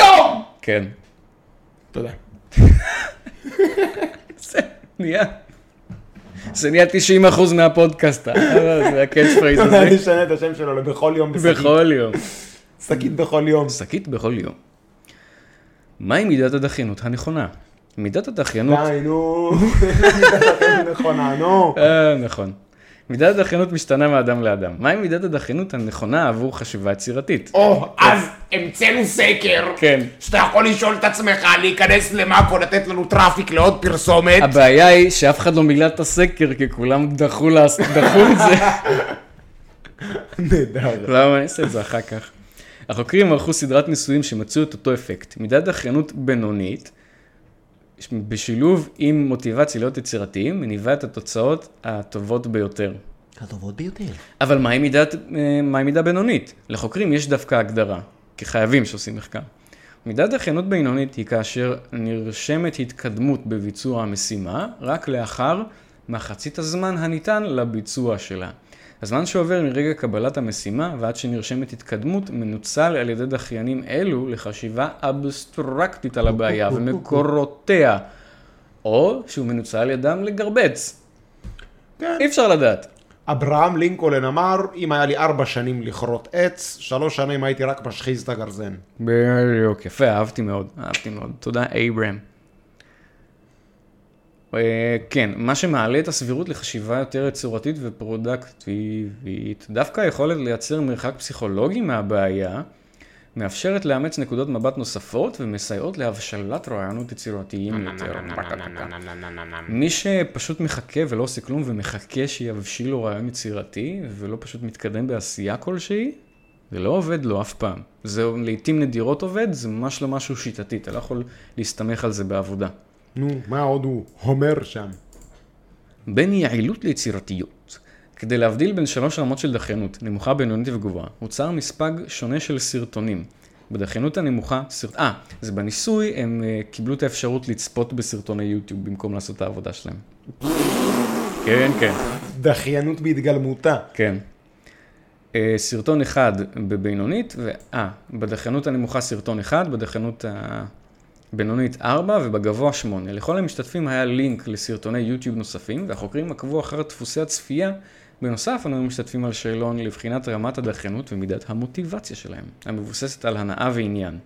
יום! כן. תודה. זה נהיה, זה נהיה 90% מהפודקאסט, אה, זה הקאץ' פרייז אני הזה. אשנה את השם שלו לבכל יום בשקית. בכל יום. שקית בכל יום. שקית בכל יום. מהי מידת הדחיינות הנכונה? מידת הדחיינות... די, נו. נכונה, נו. אה, נכון. מידת הדחיינות משתנה מאדם לאדם. מהי מידת הדחיינות הנכונה עבור חשיבה יצירתית? או, אז המצאנו סקר, כן. שאתה יכול לשאול את עצמך, להיכנס למאקו, לתת לנו טראפיק לעוד פרסומת. הבעיה היא שאף אחד לא מילא את הסקר, כי כולם דחו לעס- דחו את זה. נהדר. למה אני אעשה את זה אחר כך? החוקרים ערכו סדרת ניסויים שמצאו את אותו אפקט, מידת דחיינות בינונית, בשילוב עם מוטיבציה להיות יצירתיים, מניבה את התוצאות הטובות ביותר. הטובות ביותר. אבל מהי מידת, אה, מהי מידה בינונית? לחוקרים יש דווקא הגדרה, כחייבים שעושים מחקר. מידת הכנות בינונית היא כאשר נרשמת התקדמות בביצוע המשימה רק לאחר מחצית הזמן הניתן לביצוע שלה. הזמן שעובר מרגע קבלת המשימה ועד שנרשמת התקדמות מנוצל על ידי דחיינים אלו לחשיבה אבסטרקטית על הבעיה ומקורותיה, או שהוא מנוצל על ידם לגרבץ. כן. אי אפשר לדעת. אברהם לינקולן אמר, אם היה לי ארבע שנים לכרות עץ, שלוש שנים הייתי רק משחיז את הגרזן. בדיוק, יפה, אהבתי מאוד, אהבתי מאוד. תודה, אייברם. אה, כן, מה שמעלה את הסבירות לחשיבה יותר יצורתית ופרודקטיבית, דווקא היכולת לייצר מרחק פסיכולוגי מהבעיה, מאפשרת לאמץ נקודות מבט נוספות ומסייעות להבשלת רעיונות יצירתיים יותר. מי שפשוט מחכה ולא עושה כלום ומחכה שיבשיל לו רעיון יצירתי ולא פשוט מתקדם בעשייה כלשהי, זה לא עובד לו אף פעם. זה לעיתים נדירות עובד, זה ממש לא משהו שיטתי, אתה לא יכול להסתמך על זה בעבודה. נו, מה עוד הוא הומר שם? בין יעילות ליצירתיות. כדי להבדיל בין שלוש רמות של דחיינות, נמוכה, בינונית וגבוהה, הוצר מספג שונה של סרטונים. בדחיינות הנמוכה, סרט... אה, זה בניסוי, הם אה, קיבלו את האפשרות לצפות בסרטוני יוטיוב במקום לעשות את העבודה שלהם. כן, כן. דחיינות בהתגלמותה. כן. אה, סרטון אחד בבינונית, ו... אה, בדחיינות הנמוכה סרטון אחד, בדחיינות ה... בינונית 4 ובגבוה 8. לכל המשתתפים היה לינק לסרטוני יוטיוב נוספים, והחוקרים עקבו אחר דפוסי הצפייה. בנוסף, אנו משתתפים על שאלון לבחינת רמת הדרכנות ומידת המוטיבציה שלהם, המבוססת על הנאה ועניין.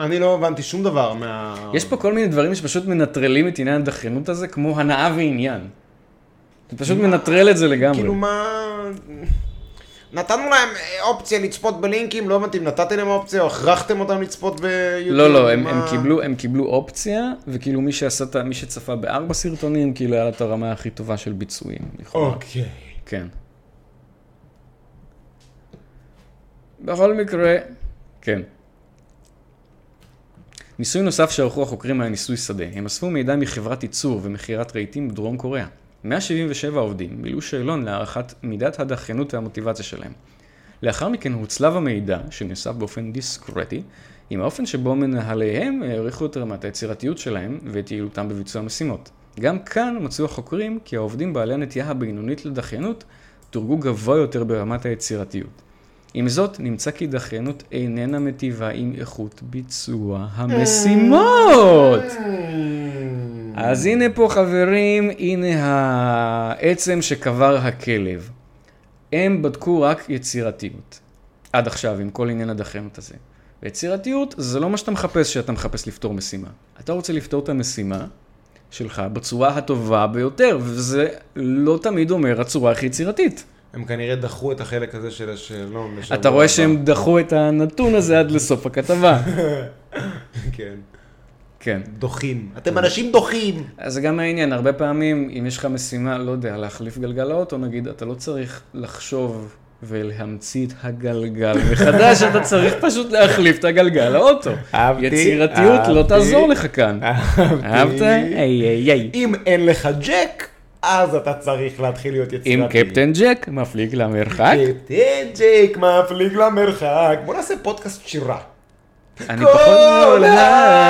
אני לא הבנתי שום דבר מה... יש פה כל מיני דברים שפשוט מנטרלים את עניין הדחיינות הזה, כמו הנאה ועניין. אתה פשוט מנטרל את זה לגמרי. כאילו מה... נתנו להם אה, אופציה לצפות בלינקים, לא הבנתי אם נתתם להם אופציה או הכרחתם אותם לצפות ביוטיוב. לא, לא, הם, מה? הם, קיבלו, הם קיבלו אופציה, וכאילו מי, שעשה, את ה- מי שצפה בארבע סרטונים, כאילו היה לה את הרמה הכי טובה של ביצועים. לכאורה. אוקיי. כן. בכל מקרה, כן. ניסוי נוסף שערכו החוקרים היה ניסוי שדה. הם אספו מידע מחברת ייצור ומכירת רהיטים בדרום קוריאה. 177 עובדים מילאו שאלון להערכת מידת הדחיינות והמוטיבציה שלהם. לאחר מכן הוצלב המידע, שנאסף באופן דיסקרטי, עם האופן שבו מנהליהם העריכו את רמת היצירתיות שלהם ואת יעילותם בביצוע המשימות. גם כאן מצאו החוקרים כי העובדים בעלי הנטייה הבינונית לדחיינות דורגו גבוה יותר ברמת היצירתיות. עם זאת, נמצא כי דחיינות איננה מטיבה עם איכות ביצוע המשימות. Hmm. אז הנה פה חברים, הנה העצם שקבר הכלב. הם בדקו רק יצירתיות. עד עכשיו, עם כל עניין הדחיינות הזה. ויצירתיות זה לא מה שאתה מחפש כשאתה מחפש לפתור משימה. אתה רוצה לפתור את המשימה שלך בצורה הטובה ביותר, וזה לא תמיד אומר הצורה הכי יצירתית. הם כנראה דחו את החלק הזה של השאלון. לשבוע אתה רואה הבא. שהם דחו את הנתון הזה עד לסוף הכתבה. כן. כן. דוחים. אתם אנשים דוחים! אז זה גם העניין, הרבה פעמים, אם יש לך משימה, לא יודע, להחליף גלגל האוטו, נגיד, אתה לא צריך לחשוב ולהמציא את הגלגל מחדש, אתה צריך פשוט להחליף את הגלגל לאוטו. אהבתי, יצירתיות לא אהבתי. תעזור לך כאן. אהבת? איי איי איי. אם אין לך ג'ק, אז אתה צריך להתחיל להיות יצירתי. אם קפטן ג'ק מפליג למרחק, קפטן ג'ק מפליג למרחק. בוא נעשה פודקאסט שירה. כן. אני פחות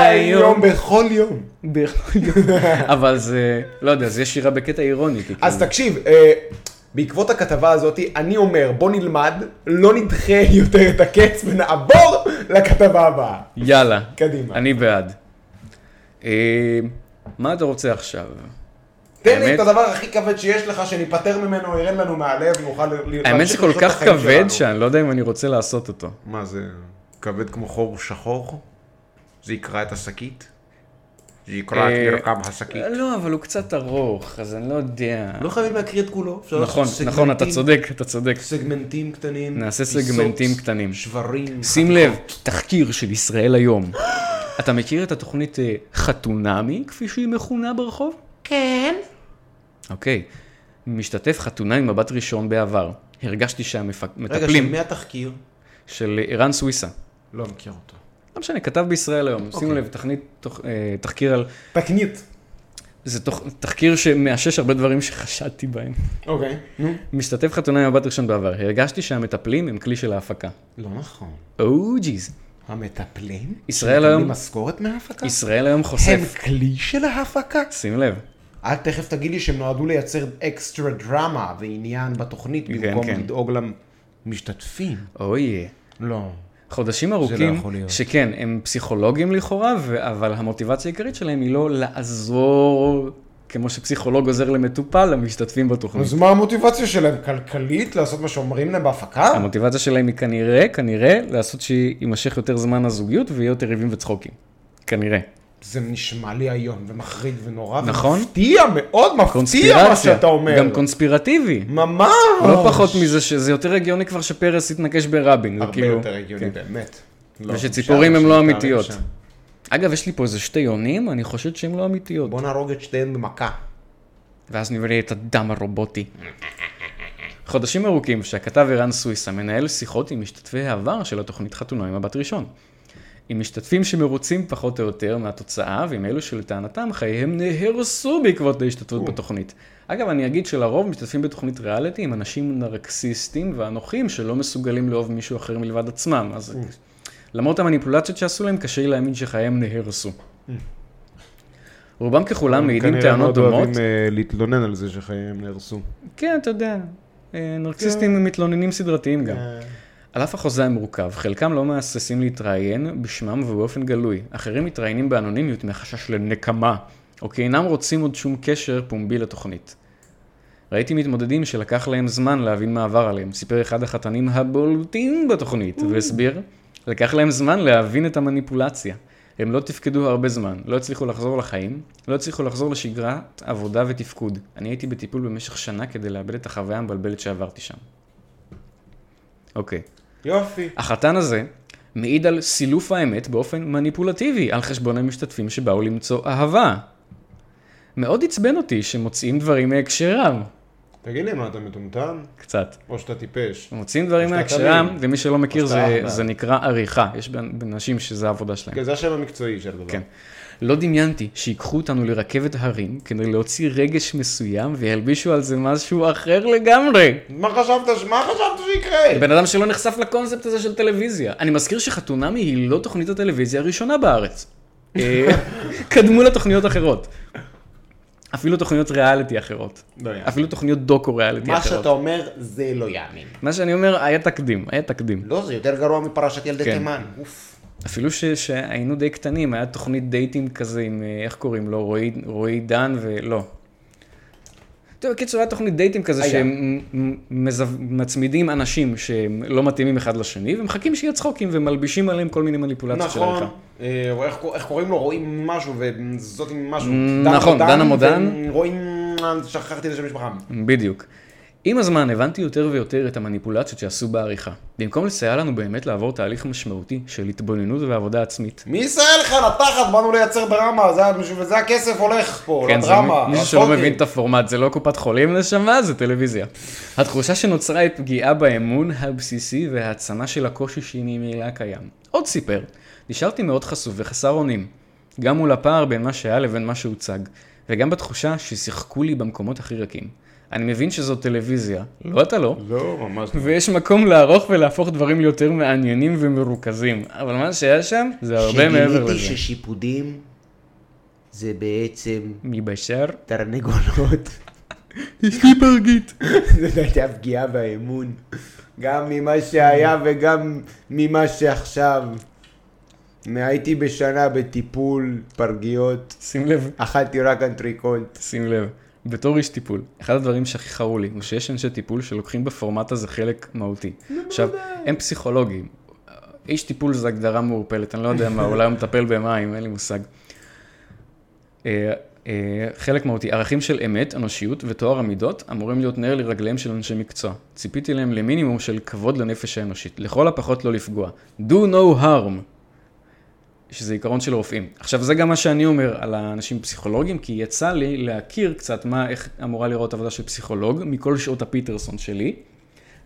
היום. בכל יום. בכל יום. אבל זה, לא יודע, זה יש שירה בקטע אירוני. כי אז כאילו- תקשיב, אה, בעקבות הכתבה הזאת, אני אומר, בוא נלמד, לא נדחה יותר את הקץ ונעבור לכתבה הבאה. יאללה. קדימה. אני בעד. אה, מה אתה רוצה עכשיו? תן לי האמת- את הדבר הכי כבד שיש לך, שניפטר ממנו, ירד לנו מהלב, ונוכל ל- להמשיך האמת זה כל לחיות את כך החיים כבד שלנו. שאני לא יודע אם אני רוצה לעשות אותו. מה זה, כבד כמו חור שחור? זה יקרע את השקית? זה יקרע את אה, מרקם השקית. לא, אבל הוא קצת ארוך, אז אני לא יודע. לא חייבים להקריא את כולו. אפשר נכון, לעשות נכון, אתה סגמנטים- צודק, אתה צודק. סגמנטים קטנים. נעשה טיסות, סגמנטים קטנים. שברים. שים לב, תחקיר של ישראל היום. אתה מכיר את התוכנית אה, חתונמי, כפי שהיא מכונה ברחוב? כן? אוקיי. משתתף חתונה עם מבט ראשון בעבר. הרגשתי רגע, של שהמטפלים מי התחקיר? של אה, ערן סוויסה. לא מכיר אותו. לא משנה, כתב בישראל היום. אוקיי. שימו לב, תכנית, תוך- אה, תחקיר על... תקנית. זה תוך- תחקיר שמאשש הרבה דברים שחשדתי בהם. אוקיי. משתתף חתונה עם מבט ראשון בעבר, הרגשתי שהמטפלים הם כלי של ההפקה. Oh, לא נכון. או ג'יז. המטפלים? ישראל היום, מקבלים משכורת מההפקה? ישראל היום הם חושף. כלי של ההפקה? שים לב. את תכף תגידי שהם נועדו לייצר אקסטרה דרמה ועניין בתוכנית כן, במקום כן. לדאוג למשתתפים. אוי. לא. חודשים לא ארוכים, יכול להיות. שכן, הם פסיכולוגים לכאורה, ו- אבל המוטיבציה העיקרית שלהם היא לא לעזור, כמו שפסיכולוג עוזר למטופל, למשתתפים בתוכנית. אז מה המוטיבציה שלהם? כלכלית? לעשות מה שאומרים להם בהפקה? המוטיבציה שלהם היא כנראה, כנראה, לעשות שיימשך יותר זמן הזוגיות ויהיה יותר ריבים וצחוקים. כנראה. זה נשמע לי איום ומחריד ונורא. נכון. ומפתיע, מאוד מפתיע מה קונספירציה. שאתה אומר. גם קונספירטיבי. ממש. לא פחות מזה שזה יותר הגיוני כבר שפרס התנקש ברבין. זה הרבה כאילו- יותר הגיוני, כן. באמת. ושציפורים הן לא שם, אמיתיות. שם. אגב, יש לי פה איזה שתי יונים, אני חושד שהן לא אמיתיות. בוא נהרוג את שתיהן במכה. ואז נראה את הדם הרובוטי. חודשים ארוכים שהכתב ערן סוויסה מנהל שיחות עם משתתפי העבר של התוכנית חתונה עם הבת ראשון. עם משתתפים שמרוצים פחות או יותר מהתוצאה, ועם אלו שלטענתם חייהם נהרסו בעקבות ההשתתפות בתוכנית. אגב, אני אגיד שלרוב משתתפים בתוכנית ריאליטי עם אנשים נרקסיסטים ואנוכיים שלא מסוגלים לאהוב מישהו אחר מלבד עצמם, אז למרות המניפולציות שעשו להם, קשה לי להאמין שחייהם נהרסו. רובם ככולם מעידים טענות דומות. אה, להתלונן על זה שחייהם נהרסו. כן, אתה יודע. אה, נרקסיסטים הם מתלוננים סדרתיים גם. על אף החוזה המורכב, חלקם לא מהססים להתראיין בשמם ובאופן גלוי. אחרים מתראיינים באנונימיות מחשש לנקמה, או כי אינם רוצים עוד שום קשר פומבי לתוכנית. ראיתי מתמודדים שלקח להם זמן להבין מה עבר עליהם, סיפר אחד החתנים הבולטים בתוכנית, והסביר, לקח להם זמן להבין את המניפולציה. הם לא תפקדו הרבה זמן, לא הצליחו לחזור לחיים, לא הצליחו לחזור לשגרת עבודה ותפקוד. אני הייתי בטיפול במשך שנה כדי לאבד את החוויה המבלבלת שעברתי שם. אוקיי. יופי. החתן הזה מעיד על סילוף האמת באופן מניפולטיבי, על חשבון המשתתפים שבאו למצוא אהבה. מאוד עצבן אותי שמוצאים דברים מהקשרם. תגיד לי, מה, אתה מטומטם? קצת. או שאתה טיפש? מוצאים דברים שאתה מהקשרם, תמים. ומי שלא מכיר, או שאתה זה, אחלה. זה נקרא עריכה. יש בנ- בנשים שזה העבודה שלהם. כן, זה השם המקצועי של הדבר. כן. לא דמיינתי שיקחו אותנו לרכבת הרים כדי להוציא רגש מסוים וילבישו על זה משהו אחר לגמרי. מה חשבת, מה חשבת שיקרה? כן. בן אדם שלא נחשף לקונספט הזה של טלוויזיה. אני מזכיר שחתונמי היא לא תוכנית הטלוויזיה הראשונה בארץ. אה, קדמו לה תוכניות אחרות. אפילו תוכניות ריאליטי אחרות. לא יאמן. אפילו תוכניות דוקו ריאליטי מה שאתה אחרות. אומר זה לא יאמן. מה שאני אומר, היה תקדים, היה תקדים. לא, זה יותר גרוע מפרשת ילדי כן. תימן. אוף. אפילו ש- שהיינו די קטנים, היה תוכנית דייטינג כזה עם, אה, איך קוראים לו, רועי- רועי דן ולא. טוב, בקיצור, היה תוכנית דייטינג כזה שהם מ- מזו- מצמידים אנשים שהם לא מתאימים אחד לשני, ומחכים שיהיה צחוקים ומלבישים עליהם כל מיני מניפולציות של נכון. עריכה. אה, איך קור- איך קוראים לו? רואים משהו וזאת עם משהו. Mm, דן נכון, דן המודן. רואים... שכחתי את השם משפחה. בדיוק. עם הזמן הבנתי יותר ויותר את המניפולציות שעשו בעריכה. במקום לסייע לנו באמת לעבור תהליך משמעותי של התבוננות ועבודה עצמית. מישראל לך לתחת, באנו לייצר דרמה, זה היה- וזה הכסף הולך פה, כן, זה לדרמה. אוקיי. מישהו שלא הצחוקים. מבין את הפורמט, זה לא קופת חולים נשמה, זה טלוויזיה. התחושה שנוצרה היא פגיעה באמון הבסיסי והעצמה של הקושי שהיא ממילא קיים. עוד סיפר, נשארתי מאוד חשוף וחסר אונים, גם מול הפער בין מה שהיה לבין מה שהוצג, וגם בתחושה ששיחקו לי במקומות הכי רכים. אני מבין שזו טלוויזיה, לא אתה לא, לא, ממש לא. ויש מקום לערוך ולהפוך דברים ליותר מעניינים ומרוכזים, אבל מה שהיה שם זה הרבה מעבר שגיליתי לזה. ששיפודים זה בעצם מבשר? תרנגולות. יש לי פרגית. זאת הייתה פגיעה באמון. גם ממה שהיה וגם ממה שעכשיו. הייתי בשנה בטיפול פרגיות, שים לב, אכלתי רק אנטריקולט. שים לב. בתור איש טיפול, אחד הדברים שהכי חרו לי, הוא שיש אנשי טיפול שלוקחים בפורמט הזה חלק מהותי. עכשיו, הם פסיכולוגים. איש טיפול זו הגדרה מעורפלת, אני לא יודע מה, אולי הוא מטפל במים, אין לי מושג. אה, אה, חלק מהותי, ערכים של אמת, אנושיות וטוהר המידות אמורים להיות נר לרגליהם של אנשי מקצוע. ציפיתי להם למינימום של כבוד לנפש האנושית, לכל הפחות לא לפגוע. Do no harm, שזה עיקרון של רופאים. עכשיו זה גם מה שאני אומר על האנשים פסיכולוגים, כי יצא לי להכיר קצת מה, איך אמורה להיראות עבודה של פסיכולוג, מכל שעות הפיטרסון שלי.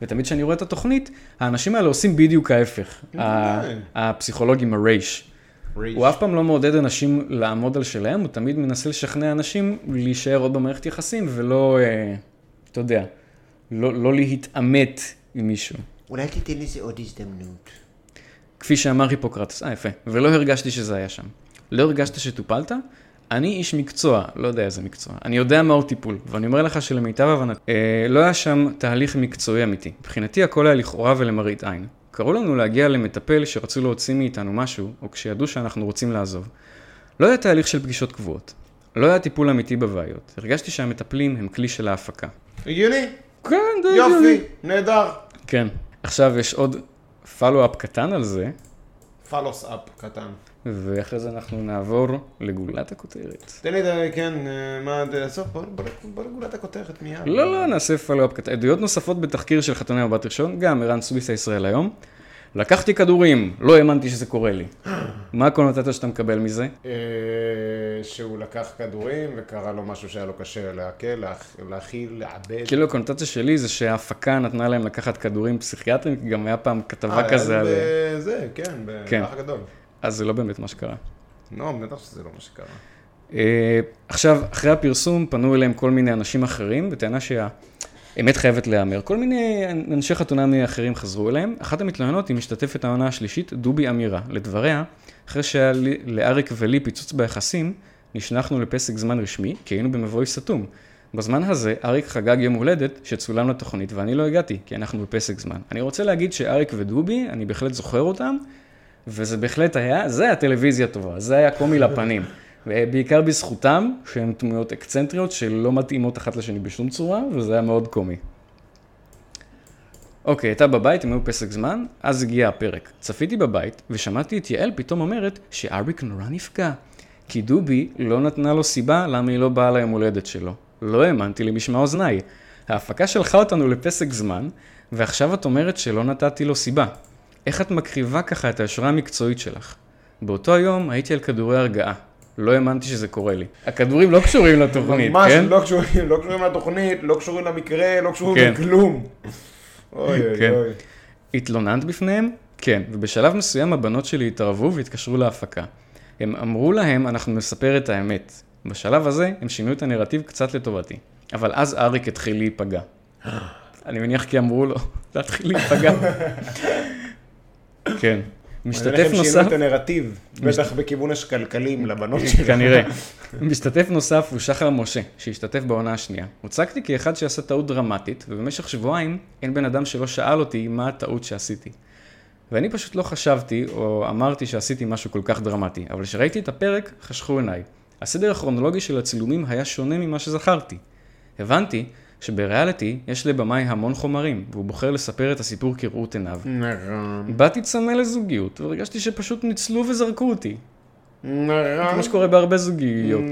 ותמיד כשאני רואה את התוכנית, האנשים האלה עושים בדיוק ההפך. ה- הפסיכולוגים הרייש. הוא אף פעם לא מעודד אנשים לעמוד על שלהם, הוא תמיד מנסה לשכנע אנשים להישאר עוד במערכת יחסים ולא, אה, אתה יודע, לא, לא להתעמת עם מישהו. אולי תיתן לזה עוד הזדמנות. כפי שאמר היפוקרטס, אה יפה, ולא הרגשתי שזה היה שם. לא הרגשת שטופלת? אני איש מקצוע, לא יודע איזה מקצוע, אני יודע מהו טיפול, ואני אומר לך שלמיטב הבנתי, אה, לא היה שם תהליך מקצועי אמיתי. מבחינתי הכל היה לכאורה ולמראית עין. קראו לנו להגיע למטפל שרצו להוציא מאיתנו משהו, או כשידעו שאנחנו רוצים לעזוב. לא היה תהליך של פגישות קבועות. לא היה טיפול אמיתי בבעיות. הרגשתי שהמטפלים הם כלי של ההפקה. הגיוני? כן, די יופי, נהדר. כן. עכשיו יש עוד follow-up קטן על זה. פלוס אפ קטן. ואחרי זה אנחנו נעבור לגולת הכותרת. תן לי את ה... כן, אה, מה, עזוב, בוא- בוא- בוא נגולת הכותרת מיד. לא, לא, נעשה פלו-אפ קטן. עדויות נוספות בתחקיר של חתוני מבט ראשון, גם ערן סוויסה ישראל היום. לקחתי כדורים, לא האמנתי שזה קורה לי. מה הקונוטציה שאתה מקבל מזה? אה, שהוא לקח כדורים וקרה לו משהו שהיה לו קשה לעכל, להכ- להכיל, לעבד. כאילו הקונוטציה שלי זה שההפקה נתנה להם לקחת כדורים פסיכיאטרים, כי גם היה פעם אה, כתבה כזה על... ב- זה, כן, כן. באח הגדול. אז זה לא באמת מה שקרה. נו, בטח שזה לא מה שקרה. אה, עכשיו, אחרי הפרסום פנו אליהם כל מיני אנשים אחרים, בטענה שהאמת חייבת להיאמר. כל מיני אנשי חתונמי אחרים חזרו אליהם. אחת המתלוננות היא משתתפת העונה השלישית, דובי אמירה. לדבריה, אחרי שהיה לי- לאריק ולי פיצוץ ביחסים, נשלחנו לפסק זמן רשמי, כי היינו במבוי סתום. בזמן הזה, אריק חגג יום הולדת שצולם לתוכנית ואני לא הגעתי, כי אנחנו בפסק זמן. אני רוצה להגיד שאריק ודובי, אני בהחלט זוכר אותם, וזה בהחלט היה, זה היה טלוויזיה טובה, זה היה קומי לפנים. בעיקר בזכותם, שהן דמויות אקצנטריות שלא מתאימות אחת לשני בשום צורה, וזה היה מאוד קומי. אוקיי, הייתה בבית, הם היו פסק זמן, אז הגיע הפרק. צפיתי בבית, ושמעתי את יעל פתאום אומרת שאריק נורא נפגע. כי דובי לא נתנה לו סיבה למה היא לא באה ליום הולדת שלו. לא האמנתי למשמע אוזניי. ההפקה שלחה אותנו לפסק זמן, ועכשיו את אומרת שלא נתתי לו סיבה. איך את מקריבה ככה את היושרה המקצועית שלך? באותו היום הייתי על כדורי הרגעה. לא האמנתי שזה קורה לי. הכדורים לא קשורים לתוכנית, ממש כן? לא קשורים, לא קשורים לתוכנית, לא קשורים למקרה, לא כן. קשורים לכלום. אוי אוי כן. אוי. התלוננת בפניהם? כן, ובשלב מסוים הבנות שלי התערבו והתקשרו להפקה. הם אמרו להם, אנחנו נספר את האמת. בשלב הזה, הם שינו את הנרטיב קצת לטובתי. אבל אז אריק התחיל להיפגע. אני מניח כי אמרו לו להתחיל להיפגע. כן. אני משתתף אגיד לכם שינו נוסף... את הנרטיב, בטח בכיוון השקלקלים לבנות שלך. כנראה. משתתף נוסף הוא שחר משה, שהשתתף בעונה השנייה. הוצגתי כאחד שעשה טעות דרמטית, ובמשך שבועיים אין בן אדם שלא שאל אותי מה הטעות שעשיתי. ואני פשוט לא חשבתי, או אמרתי שעשיתי משהו כל כך דרמטי, אבל כשראיתי את הפרק, חשכו עיניי. הסדר הכרונולוגי של הצילומים היה שונה ממה שזכרתי. הבנתי שבריאליטי יש לבמאי המון חומרים, והוא בוחר לספר את הסיפור כראות עיניו. נכון. באתי צמא לזוגיות, והרגשתי שפשוט ניצלו וזרקו אותי. נכון. כמו שקורה בהרבה זוגיות.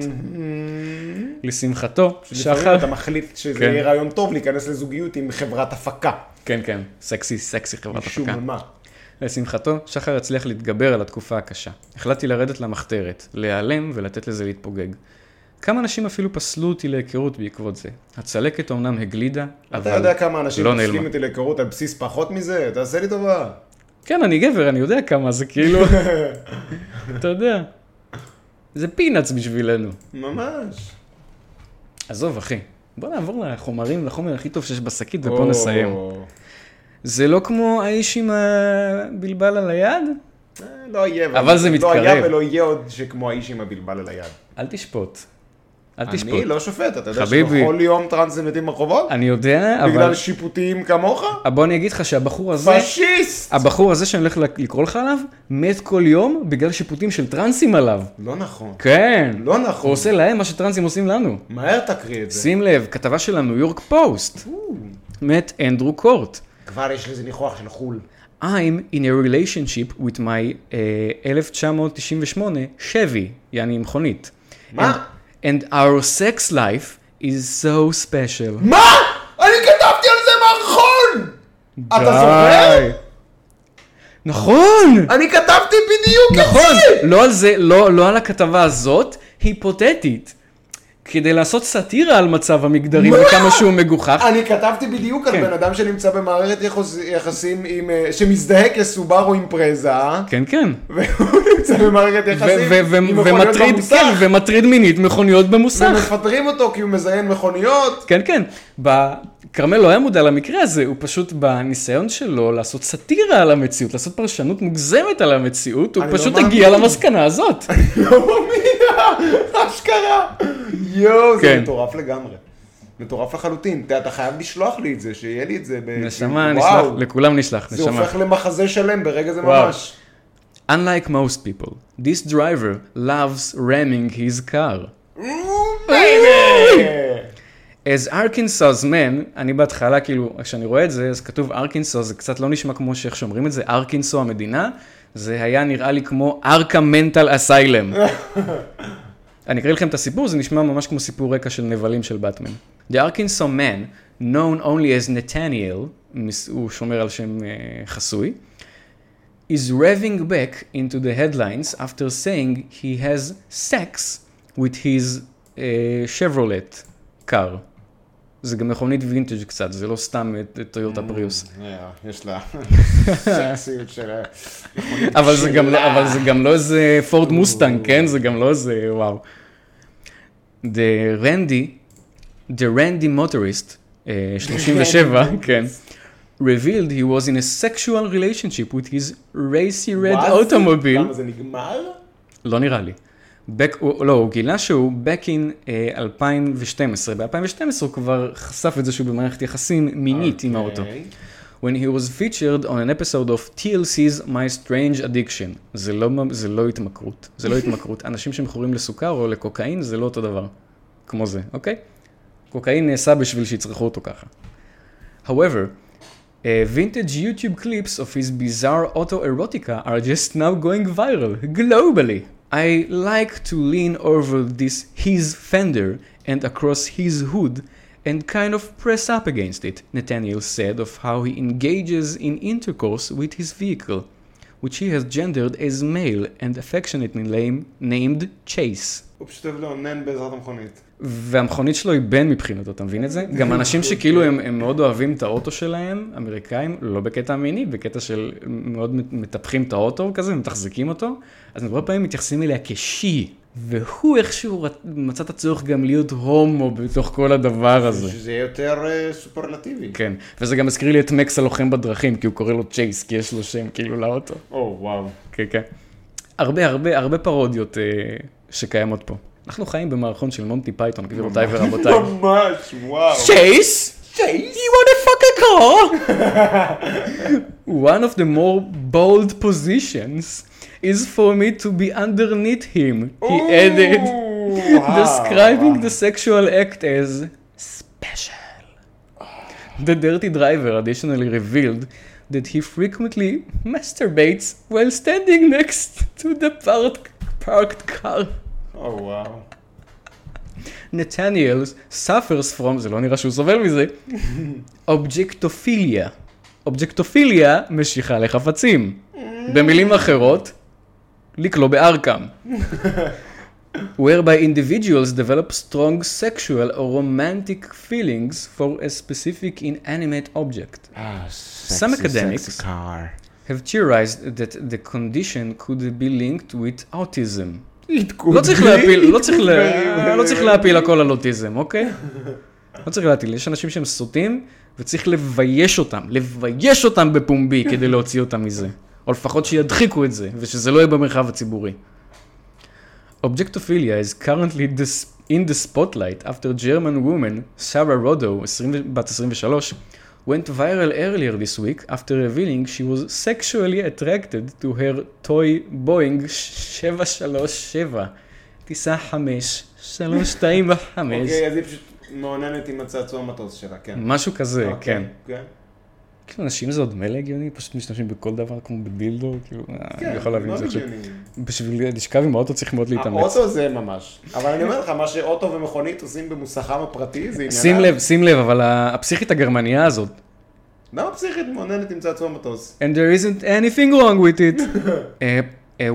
לשמחתו, לפעמים שחר... אתה מחליט שזה כן. יהיה רעיון טוב להיכנס לזוגיות עם חברת הפקה. כן, כן, סקסי, סקסי חברת משום הפקה. מה. לשמחתו, שחר הצליח להתגבר על התקופה הקשה. החלטתי לרדת למחתרת, להיעלם ולתת לזה להתפוגג. כמה אנשים אפילו פסלו אותי להיכרות בעקבות זה. הצלקת אומנם הגלידה, אבל... אתה יודע כמה אנשים לא פוסלים נעלמה. אותי להיכרות על בסיס פחות מזה? תעשה לי טובה. כן, אני גבר, אני יודע כמה, זה כאילו... אתה יודע. זה פינאץ בשבילנו. ממש. עזוב, אחי. בוא נעבור לחומרים, לחומר הכי טוב שיש בשקית, ופה נסיים. או. זה לא כמו האיש עם הבלבל על היד? אה, לא יהיה. אבל ואני- זה לא מתקרב. היה ולא יהיה עוד שכמו האיש עם הבלבל על היד. אל תשפוט. אל תשפוט. אני לא שופט, אתה יודע חביבי. שבכל יום טרנסים מתים ברחובות? אני יודע, אבל... בגלל שיפוטיים כמוך? אבל בוא אני אגיד לך שהבחור הזה, פשיסט! הבחור הזה שאני הולך לקרוא לך עליו, מת כל יום בגלל שיפוטים של טרנסים עליו. לא נכון. כן. לא נכון. הוא עושה להם מה שטרנסים עושים לנו. מהר תקריא את זה. שים לב, כתבה של הניו יורק פוסט. מת אנדרו קורט. כבר יש לזה ניחוח של חו"ל. I'm in a relationship with my אה, 1998 Chevy, יעני עם מכונית. כן. מה? And, and our sex life is so special. מה? אני כתבתי על זה מערכון! אתה די. זוכר? נכון! אני כתבתי בדיוק את נכון! זה! לא על זה, לא, לא על הכתבה הזאת, היפותטית. כדי לעשות סאטירה על מצב המגדרי וכמה שהוא מגוחך. אני כתבתי בדיוק על כן. בן אדם שנמצא במערכת יחוס- יחסים עם... אה, שמזדהה כסובארו אימפרזה, כן, כן. והוא נמצא במערכת ו- ו- יחסים ו- עם מכוניות ומטריד, במוסך, כן, ומטריד מינית מכוניות במוסך. ומפטרים אותו כי הוא מזיין מכוניות. כן, כן. ב- כרמל לא היה מודע למקרה הזה, הוא פשוט בניסיון שלו לעשות סאטירה על המציאות, לעשות פרשנות מוגזמת על המציאות, הוא אני לא פשוט מאמין. הגיע למסקנה הזאת. לא מאמין, אשכרה. יואו, זה כן. מטורף לגמרי. מטורף לחלוטין. אתה- אתה חייב לשלוח לי את זה, שיהיה לי את זה. ב- נשמה, נשלח, וואו. לכולם נשלח, זה נשמה. הופך למחזה שלם ברגע זה וואו. ממש. Unlike most people, this driver loves ramming his car. אה, As Arkansas man, אני בהתחלה, כאילו, כשאני רואה את זה, אז כתוב ארקינסו, זה קצת לא נשמע כמו שאיך שאומרים את זה, ארקינסו המדינה, זה היה נראה לי כמו ארקה מנטל אסיילם. אני אקריא לכם את הסיפור, זה נשמע ממש כמו סיפור רקע של נבלים של באטמן. The Arkansas man, known only as Nathaniel, מס- הוא שומר על שם אה, חסוי, is revving back into the headlines after saying he has sex with his uh, Chevrolet car. זה גם מכונית וינטג' קצת, זה לא סתם אה, טויוטה פריוס. אה, יש לה סקסיות אה, שלה. אבל זה גם לא- אבל זה גם לא איזה פורד מוסטנג, כן? זה גם לא איזה, וואו. The Randy, the Randy motorist, אה, 37, כן. revealed he was in a sexual relationship with his racy red מה זה? automobile. למה זה נגמר? לא נראה לי. בק, הוא, לא, הוא גילה שהוא back in אה, 2012. ב-2012 הוא כבר חשף את זה שהוא במערכת יחסים מינית עם האוטו. אוקיי. When he was featured on an episode of TLC's My Strange Addiction. זה לא, מ- זה לא התמכרות, זה לא התמכרות. אנשים שמכורים לסוכר או לקוקאין זה לא אותו דבר, כמו זה, אוקיי? קוקאין נעשה בשביל שיצרכו אותו ככה. However, uh, vintage YouTube clips of his bizarre autoerotica are just now going viral globally. I like to lean over this his fender and across his hood and kind of press up against it, Nathaniel said of how he engages in intercourse with his vehicle, which he has gendered as male and affectionately lame, named Chase. הוא פשוט אוהב לאונן בעזרת המכונית. והמכונית שלו היא בן מבחינתו, אתה מבין את זה? גם אנשים שכאילו הם, הם מאוד אוהבים את האוטו שלהם, אמריקאים, לא בקטע מיני, בקטע של מאוד מטפחים את האוטו כזה, מתחזקים אותו, אז הרבה פעמים מתייחסים אליה כשי, והוא איכשהו רת- מצא את הצורך גם להיות הומו בתוך כל הדבר הזה. שזה יהיה יותר אה, סופרלטיבי. כן, וזה גם הזכיר לי את מקס הלוחם בדרכים, כי הוא קורא לו צ'ייס, כי יש לו שם כאילו לאוטו. או, וואו. כן, כן. הרבה הרבה הרבה פרודיות אה, שקיימות פה. אנחנו חיים במערכון של מונטי פייתון, גבירותיי ורבותיי. ממש, וואו. Chase? Chase? You want to fuck a car? One of the more bold positions is for me to be underneath him, he added, describing the sexual act as special. The Dirty Driver additionally revealed that he frequently masturbates while standing next to the parked, parked car. או, וואו. נתניאל suffers from, זה לא נראה שהוא סובל מזה, אובג'קטופיליה. אובג'קטופיליה, משיכה לחפצים. במילים אחרות, לקלוא בארקם. whereby individuals develop strong sexual or romantic feelings for a specific inanimate object. אה, Some academics have theorized that the condition could be linked with autism. לא צריך להפיל, לא צריך, לה... לא צריך להפיל הכל על אוטיזם, אוקיי? לא צריך להטיל, יש אנשים שהם סוטים, וצריך לבייש אותם, לבייש אותם בפומבי כדי להוציא אותם מזה. או לפחות שידחיקו את זה, ושזה לא יהיה במרחב הציבורי. Objectophilia is currently dis- in the spotlight after German woman Sarah Rodo, 20, בת 23, went viral earlier this week after revealing she was sexually attracted to her toy Boeing 737, טיסה 5, 325, אוקיי, אז היא פשוט מאוננת עם הצעצוע המטוס שלה, כן. משהו כזה, אוקיי, כן. כאילו, אנשים זה עוד מילא הגיוני, פשוט משתמשים בכל דבר כמו בדילדו, כאילו, כן, אני יכול להבין את זה מאוד עכשיו. הגיוני. בשביל לשכב עם האוטו צריך מאוד להתאמץ. לא האוטו זה ממש. אבל אני אומר לך, מה שאוטו ומכונית עושים במוסכם הפרטי, זה עניינה. שים לב, שים לב, אבל ה- הפסיכית הגרמניה הזאת, למה לא, פסיכית מאוננת עם צעצוע מטוס? and there isn't anything wrong with it, uh, uh,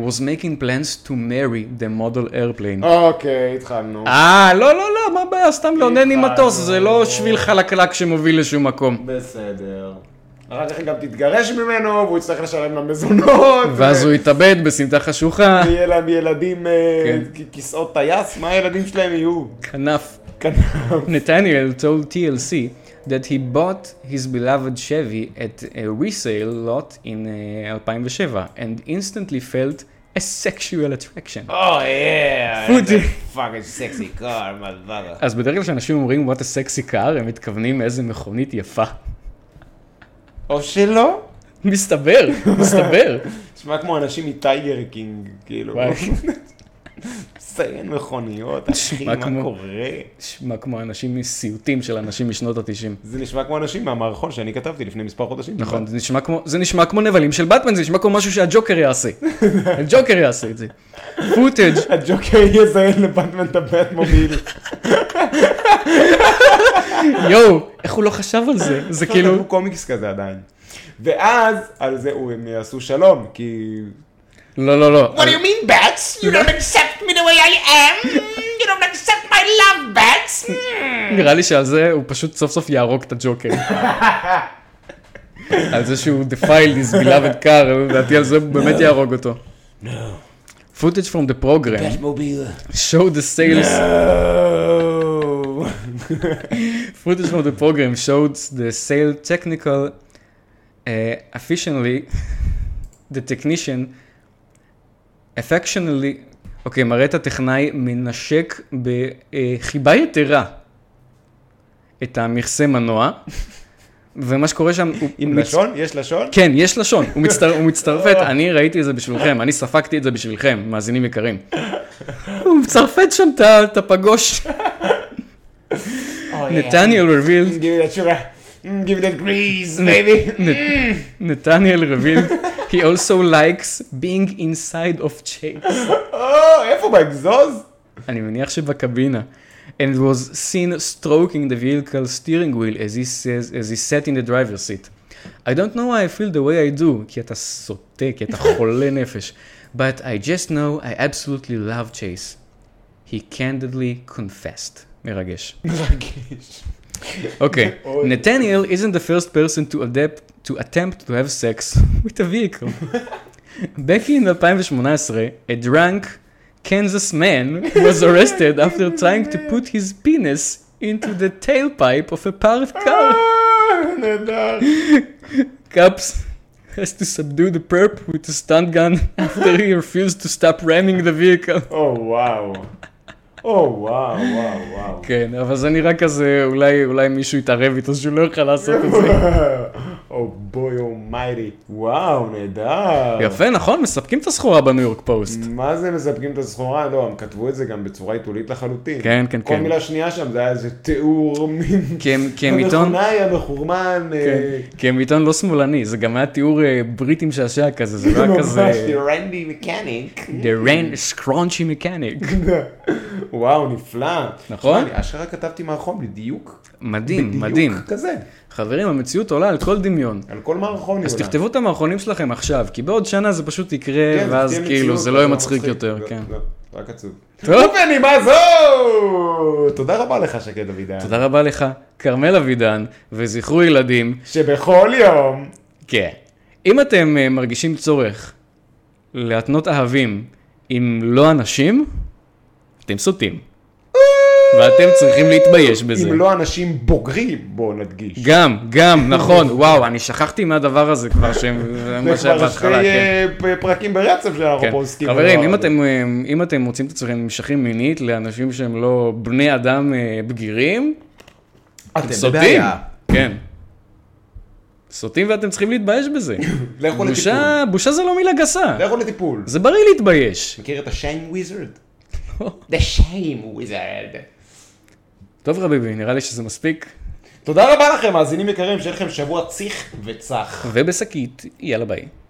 was making plans to marry the model airplane. אוקיי, התחלנו. Mm. אה, לא, לא, לא, מה הבעיה, סתם לאונן עם מטוס, זה לא שביל חלקלק שמוביל לשום כן. מקום. בסדר. אחר כך היא גם תתגרש ממנו, והוא יצטרך לשלם לה מזונות. ואז הוא התאבד בסמטה חשוכה, יהיה להם ילדים, אה, כן. כ- כיסאות טייס, מה הילדים שלהם יהיו? כנף. כאן- Nathaniel told TLC that he bought his beloved Chevy at a resale lot in uh, 2007 and instantly felt a sexual attraction. Oh yeah, Food. that's a fucking sexy car, motherfucker. אז בדרך כלל כשאנשים אומרים what a sexy car, הם מתכוונים איזה מכונית יפה. או שלא? מסתבר, מסתבר. נשמע כמו אנשים מטייגר קינג, כאילו. וואי. סיין מכוניות, אחי, נשמע כמו- מה קורה? נשמע כמו אנשים מסיוטים של אנשים משנות ה-90. זה נשמע כמו אנשים מהמערכון שאני כתבתי לפני מספר חודשים. נכון, זה נשמע כמו, זה נשמע כמו נבלים של באטמן, זה נשמע כמו משהו שהג'וקר יעשה. הג'וקר יעשה את זה. פוטג' הג'וקר יזיין לבטמן את הבטמוביל. לא יואו, איך הוא לא חשב על זה? זה כאילו... נכון. כאילו... קומיקס כזה עדיין. ואז, על זה הוא- הם יעשו שלום, כי... לא, לא, לא. What do you mean, Bats? You don't accept me the way I am? You don't accept my love, Bats? Hmm. נראה לי שעל זה הוא פשוט סוף סוף יהרוג את הג'וקר. על זה שהוא defiled his beloved car, לדעתי על זה הוא באמת יהרוג אותו. footage from the program showed the sales footage from the program showed the sale technical uh, efficiently the technician affectionately אוקיי, מראה את הטכנאי מנשק בחיבה יתרה את המכסה מנוע, ומה שקורה שם הוא... עם מצ- לשון? יש לשון? כן, יש לשון, הוא, מצטר... הוא מצטרפת, אני ראיתי את זה בשבילכם, אני ספגתי את זה בשבילכם, מאזינים יקרים. הוא מצרפת שם את ה- את הפגוש, Oh, נתניאל רבילד, Give me that sugar. Mm, Give me that grease, baby. נתניאל רבילד, he also likes being inside of chairs. או, Oh, איפה באגזוז? אני מניח שבקבינה. And was seen stroking the vehicle steering wheel as he, says, as he sat in the driver's seat. I don't know why I feel the way I do, כי אתה סוטה, כי אתה חולה נפש. But I just know I absolutely love Chase. He candidly confessed. מרגש. מרגיש. אוקיי. Nathaniel isn't the first person to adapt to attempt to have sex with a vehicle. Back in 2018, a drunk Kansas man was arrested after trying to put his penis into the tailpipe of a parked car. אה, נהדר. Cops has to subdue the perp with a stun gun after he refused to stop ramming the vehicle. או, וואו. או, וואו, וואו, וואו. כן, אבל זה נראה כזה, אולי, אולי מישהו התערב איתו שהוא לא יוכל לעשות את זה. או בוי אומיירי. Oh, וואו, נהדר. יפה, נכון? מספקים את הסחורה בניו יורק פוסט. מה זה מספקים את הסחורה? לא, הם כתבו את זה גם בצורה עיתולית לחלוטין. כן, כן, כל כן. מילה שנייה שם זה היה איזה תיאור מין... כי הם- כי הם עיתון- המכונאי המחורמן. אה, כן, כי הם עיתון לא שמאלני, זה גם היה תיאור אה, בריטים שעשע כזה, זה לא היה כאילו ממש, כזה... Randy mechanic. The rain scrunchy mechanic. וואו, נפלא. נכון? תשמע, אני אשכרה כתבתי מערכון בדיוק. מדהים, בדיוק מדהים. כזה. חברים, המציאות עולה על כל דמיון. על כל מערכון היא אז עולה. תכתבו את המערכונים שלכם עכשיו, כי בעוד שנה זה פשוט יקרה, כן, זה ואז תהיה כאילו מציאות, זה לא יהיה לא מצחיק יותר, לא, כן. לא, רק עצוב. טוב, בנימה זו! תודה רבה לך, שקד אבידן. תודה רבה לך, כרמל אבידן, וזכרו ילדים, שבכל יום... כן. אם אתם אה, מרגישים צורך להתנות אהבים עם לא אנשים, אתם סוטים. ואתם צריכים להתבייש בזה. אם לא אנשים בוגרים, בואו נדגיש. גם, גם, נכון, וואו, אני שכחתי מהדבר הזה כבר, שהם, מה זה שהיה כבר שתי בהתחלה, כן. אה, פ- פרקים ברצף שאנחנו כן. פה עוסקים. חברים, בדבר אם הזה. אתם, אה, אם אתם מוצאים את עצמכם נמשכים מינית לאנשים שהם לא בני אדם אה, בגירים, אתם סוטים. בבעיה. כן. סוטים ואתם צריכים להתבייש בזה. לכו לטיפול. בושה, בושה זה לא מילה גסה. לכו לטיפול. זה בריא להתבייש. מכיר את השיים וויזרד? The shame wizard. טוב רביבי, נראה לי שזה מספיק. תודה רבה לכם, מאזינים יקרים, שיהיה לכם שבוע ציך וצח. ובשקית, יאללה ביי.